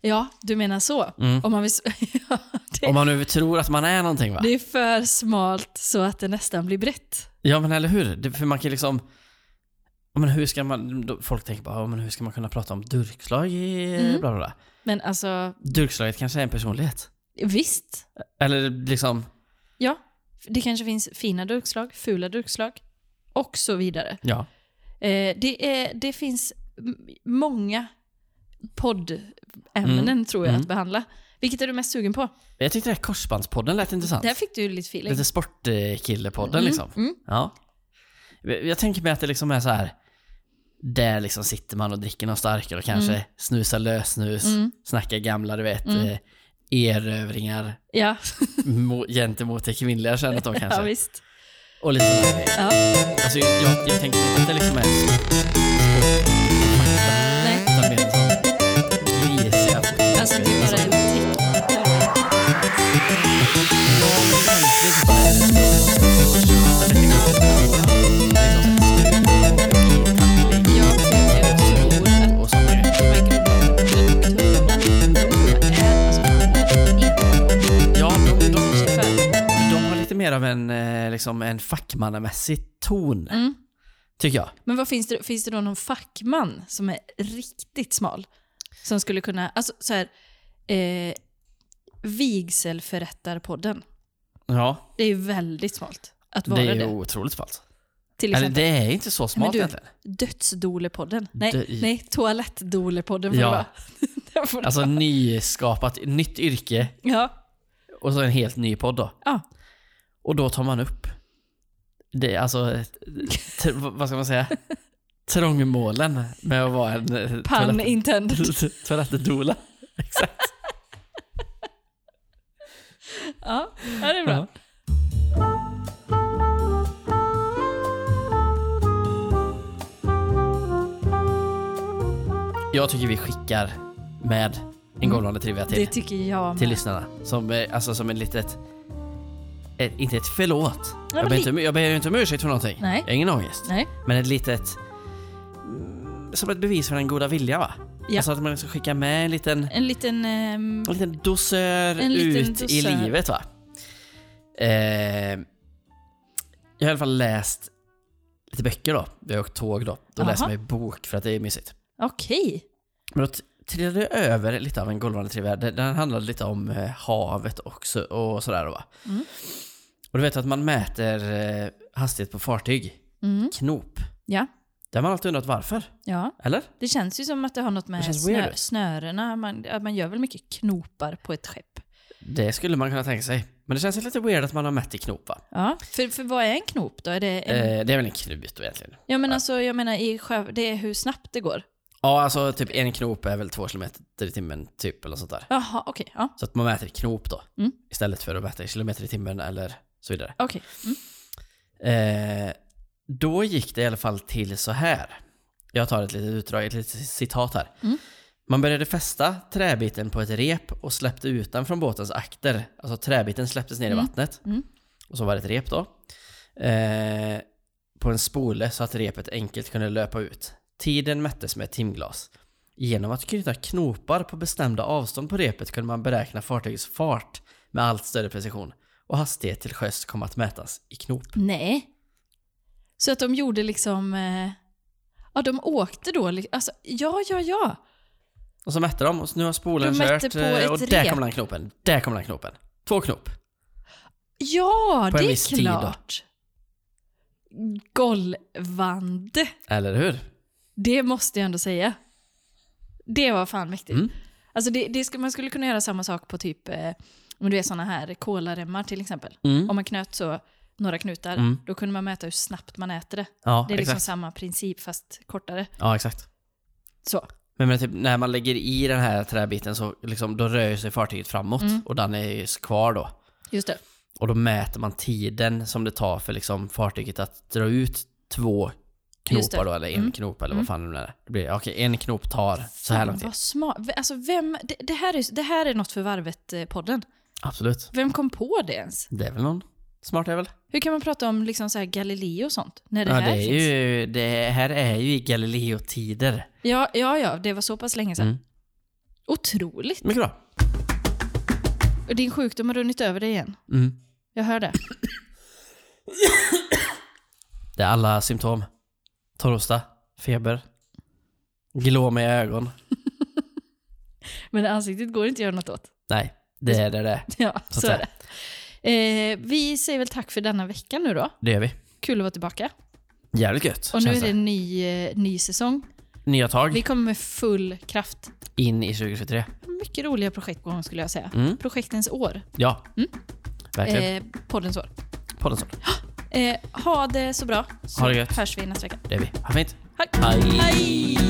[SPEAKER 1] ja du menar så.
[SPEAKER 2] Mm.
[SPEAKER 1] Om man vill... s- ja, det,
[SPEAKER 2] Om man nu tror att man är någonting va?
[SPEAKER 1] det är för smalt så att det nästan blir brett.
[SPEAKER 2] Ja men eller hur? Det, för man kan liksom... ja, Men hur ska man, då- folk tänker bara, ja, men hur ska man kunna prata om durkslag i
[SPEAKER 1] Mm.
[SPEAKER 2] bla bla bla.
[SPEAKER 1] Men alltså,
[SPEAKER 2] Durkslaget kanske är en personlighet.
[SPEAKER 1] visst.
[SPEAKER 2] Eller liksom,
[SPEAKER 1] Ja, det kanske finns fina durkslag, fula durkslag och så vidare.
[SPEAKER 2] ja.
[SPEAKER 1] Eh, det, är, det finns m- många poddämnen tror jag
[SPEAKER 2] Mm.
[SPEAKER 1] att behandla. Vilket är du mest sugen på?
[SPEAKER 2] Jag tyckte det här korsbandspodden lät intressant.
[SPEAKER 1] Där fick du ju lite feeling.
[SPEAKER 2] Lite sportkillepodden
[SPEAKER 1] Mm,
[SPEAKER 2] liksom.
[SPEAKER 1] mm.
[SPEAKER 2] Ja. Jag jag tänker mig att det liksom är så här. Där liksom sitter man och dricker någon starkare och kanske snusar lössnus,
[SPEAKER 1] Mm.
[SPEAKER 2] snackar gamla, du vet,
[SPEAKER 1] Mm.
[SPEAKER 2] eh, erövringar
[SPEAKER 1] Ja,
[SPEAKER 2] mo- gentemot det kvinnliga könet då
[SPEAKER 1] ja
[SPEAKER 2] kanske.
[SPEAKER 1] visst.
[SPEAKER 2] och lite så här.
[SPEAKER 1] Ja,
[SPEAKER 2] Alltså jag, jag tänker inte att det liksom är sport,
[SPEAKER 1] nej.
[SPEAKER 2] utan mer en sån grisiga fotbollsspelare
[SPEAKER 1] Alltså det är
[SPEAKER 2] som-
[SPEAKER 1] bara en teckning. Jag tror att
[SPEAKER 2] Och sånt där.
[SPEAKER 1] Alltså,
[SPEAKER 2] Ja, de, de, de har lite mer av en, eh, liksom en fackmannamässig ton,
[SPEAKER 1] Mm.
[SPEAKER 2] tycker jag.
[SPEAKER 1] Men vad finns det, finns det då någon fackman som är riktigt smal? Som skulle kunna, alltså så här, eh, vigselförrättarpodden.
[SPEAKER 2] Ja,
[SPEAKER 1] Det är ju väldigt smalt att
[SPEAKER 2] det
[SPEAKER 1] vara
[SPEAKER 2] är
[SPEAKER 1] det.
[SPEAKER 2] ju otroligt smalt.
[SPEAKER 1] Till
[SPEAKER 2] Eller
[SPEAKER 1] exempel
[SPEAKER 2] det är inte så smalt
[SPEAKER 1] du-
[SPEAKER 2] egentligen.
[SPEAKER 1] dödsdolepodden. Nej,
[SPEAKER 2] Dö-
[SPEAKER 1] nej toalettdolepodden får
[SPEAKER 2] Ja.
[SPEAKER 1] det vara. Den får det
[SPEAKER 2] Alltså
[SPEAKER 1] vara.
[SPEAKER 2] nyskapat, nytt yrke
[SPEAKER 1] Ja,
[SPEAKER 2] och så en helt ny podd då.
[SPEAKER 1] ja.
[SPEAKER 2] Och då tar man upp, det, är alltså, t- vad ska man säga, trångmålen med att vara en eh,
[SPEAKER 1] Pun
[SPEAKER 2] toalett-
[SPEAKER 1] intended.
[SPEAKER 2] toalettdola. Exakt.
[SPEAKER 1] Ja, ja, det är bra.
[SPEAKER 2] Ja. Jag tycker vi skickar med en golvande trivia
[SPEAKER 1] Mm. Det
[SPEAKER 2] till,
[SPEAKER 1] tycker jag
[SPEAKER 2] till
[SPEAKER 1] med.
[SPEAKER 2] lyssnarna. Som, eh, alltså som en litet... Ett, inte ett förlåt.
[SPEAKER 1] men
[SPEAKER 2] Jag ber,
[SPEAKER 1] li-
[SPEAKER 2] inte, om- jag ber ju inte om ursäkt för någonting.
[SPEAKER 1] Nej.
[SPEAKER 2] Jag har ingen ångest.
[SPEAKER 1] Nej.
[SPEAKER 2] Men ett litet... mm, Som ett bevis för den goda vilja va?
[SPEAKER 1] Ja.
[SPEAKER 2] Alltså att man ska skicka med en liten
[SPEAKER 1] En liten... ehm,
[SPEAKER 2] en liten dosör
[SPEAKER 1] En liten
[SPEAKER 2] ut i
[SPEAKER 1] dosör.
[SPEAKER 2] livet va? Eh, jag har i alla fall läst lite böcker då. Jag har åkt tåg då. Då
[SPEAKER 1] Aha.
[SPEAKER 2] läser man ju bok för att det är mysigt.
[SPEAKER 1] Okej.
[SPEAKER 2] Men då t- trillade jag över lite av en golvande trivia. Den den handlade lite om eh, havet också och sådär då, va.
[SPEAKER 1] Mm.
[SPEAKER 2] Och du vet att man mäter eh, hastighet på fartyg.
[SPEAKER 1] Mm.
[SPEAKER 2] Knop.
[SPEAKER 1] Ja.
[SPEAKER 2] Det har man alltid undrat varför.
[SPEAKER 1] Ja.
[SPEAKER 2] Eller?
[SPEAKER 1] Det känns ju som att det har något
[SPEAKER 2] Det
[SPEAKER 1] med
[SPEAKER 2] känns
[SPEAKER 1] snö,
[SPEAKER 2] weird.
[SPEAKER 1] snörena. Man, att man gör väl mycket knopar på ett skepp.
[SPEAKER 2] Det skulle man kunna tänka sig. Men det känns lite weird att man har mätt i knop va?
[SPEAKER 1] Ja. För, för vad är en knop då? Är det en,
[SPEAKER 2] Eh, det är väl en knut egentligen.
[SPEAKER 1] ja, men alltså, jag menar, i sjö, det är hur snabbt det går.
[SPEAKER 2] Ja, alltså typ en knop är väl två kilometer i timmen typ eller sånt där.
[SPEAKER 1] Jaha, okej. Ja.
[SPEAKER 2] Så att man mäter i knop då.
[SPEAKER 1] Mm.
[SPEAKER 2] Istället för att mäta i kilometer i timmen eller så vidare.
[SPEAKER 1] Okej. Mm.
[SPEAKER 2] Eh, då gick det i alla fall till så här. Jag tar ett litet utdrag, ett litet citat här.
[SPEAKER 1] Mm.
[SPEAKER 2] Man började fästa träbiten på ett rep och släppte ut den från båtens akter. Alltså träbiten släpptes ner
[SPEAKER 1] Mm.
[SPEAKER 2] i vattnet.
[SPEAKER 1] Mm.
[SPEAKER 2] Och så var det ett rep då. Eh, på en spole så att repet enkelt kunde löpa ut. Tiden mättes med ett timglas. Genom att knyta knopar på bestämda avstånd på repet kunde man beräkna fartygets fart med allt större precision. Och hastighet till sjöss kom att mätas i knop.
[SPEAKER 1] Nej. Så att de gjorde liksom... Eh, ja, de åkte då. li- Alltså, ja, ja, ja.
[SPEAKER 2] Och så mätte de och nu har spolen
[SPEAKER 1] De mätte
[SPEAKER 2] kört
[SPEAKER 1] på
[SPEAKER 2] eh, och
[SPEAKER 1] ett
[SPEAKER 2] där
[SPEAKER 1] rep.
[SPEAKER 2] kommer den knopen. Där kommer den knopen. Två knop.
[SPEAKER 1] Ja,
[SPEAKER 2] På en
[SPEAKER 1] det
[SPEAKER 2] viss
[SPEAKER 1] är
[SPEAKER 2] tid då.
[SPEAKER 1] klart. Golvande.
[SPEAKER 2] Eller hur?
[SPEAKER 1] Det måste jag ändå säga. Det var fan mäktigt.
[SPEAKER 2] Mm.
[SPEAKER 1] Alltså det, det skulle, man skulle kunna göra samma sak på typ, eh, om du är såna här kolaremmar till exempel.
[SPEAKER 2] Mm.
[SPEAKER 1] Om man knöt så några knutar,
[SPEAKER 2] Mm.
[SPEAKER 1] då kunde man mäta hur snabbt man äter det.
[SPEAKER 2] Ja,
[SPEAKER 1] Det är liksom
[SPEAKER 2] exakt.
[SPEAKER 1] samma princip fast kortare.
[SPEAKER 2] Ja, exakt.
[SPEAKER 1] Så.
[SPEAKER 2] Men, men typ, när man lägger i den här träbiten så liksom, då rör ju sig fartyget framåt
[SPEAKER 1] Mm.
[SPEAKER 2] och den är ju kvar då.
[SPEAKER 1] Just det.
[SPEAKER 2] Och då mäter man tiden som det tar för liksom, fartyget att dra ut två
[SPEAKER 1] Just det. Mm.
[SPEAKER 2] knopar då, eller en knop eller vad fan det nu är. Det blir, okej, en knop tar så här
[SPEAKER 1] Fan,
[SPEAKER 2] lång tid.
[SPEAKER 1] Vad smart. V- Alltså vem, det, det, här är, det här är något för Varvet-podden.
[SPEAKER 2] Absolut.
[SPEAKER 1] Vem kom på det ens?
[SPEAKER 2] Det är väl någon smart jävel?
[SPEAKER 1] Hur kan man prata om liksom så här Galileo och sånt? När det
[SPEAKER 2] Ja, det
[SPEAKER 1] här
[SPEAKER 2] är
[SPEAKER 1] finns?
[SPEAKER 2] ju, det här är ju i Galileo-tider.
[SPEAKER 1] Ja, ja, ja, det var så pass länge sedan.
[SPEAKER 2] Mm.
[SPEAKER 1] Otroligt.
[SPEAKER 2] Mycket bra.
[SPEAKER 1] Och din sjukdom har runnit över dig igen.
[SPEAKER 2] Mm.
[SPEAKER 1] Jag hör det.
[SPEAKER 2] Det är alla symptom. Torrosta, feber, glåmiga ögon.
[SPEAKER 1] Men ansiktet går inte att göra något åt.
[SPEAKER 2] Nej, det är det det är.
[SPEAKER 1] Ja,
[SPEAKER 2] Så
[SPEAKER 1] så,
[SPEAKER 2] att
[SPEAKER 1] är det. Eh, vi säger väl tack för denna vecka nu då.
[SPEAKER 2] Det gör vi.
[SPEAKER 1] Kul att vara tillbaka.
[SPEAKER 2] Jävligt gött.
[SPEAKER 1] Och nu
[SPEAKER 2] känns
[SPEAKER 1] är det en ny, eh, ny säsong.
[SPEAKER 2] Nya tag
[SPEAKER 1] Vi kommer med full kraft.
[SPEAKER 2] in i 2023.
[SPEAKER 1] Mycket roliga projekt på gång skulle jag säga.
[SPEAKER 2] Mm.
[SPEAKER 1] Projektens år.
[SPEAKER 2] Ja,
[SPEAKER 1] Mm.
[SPEAKER 2] verkligen.
[SPEAKER 1] Eh, poddens år.
[SPEAKER 2] Podden så.
[SPEAKER 1] Eh, ha det så bra. Så
[SPEAKER 2] Ha det gött.
[SPEAKER 1] hörs vi nästa vecka.
[SPEAKER 2] Det är vi. Ha fint.
[SPEAKER 1] Hej!
[SPEAKER 2] Hej.
[SPEAKER 1] Hej.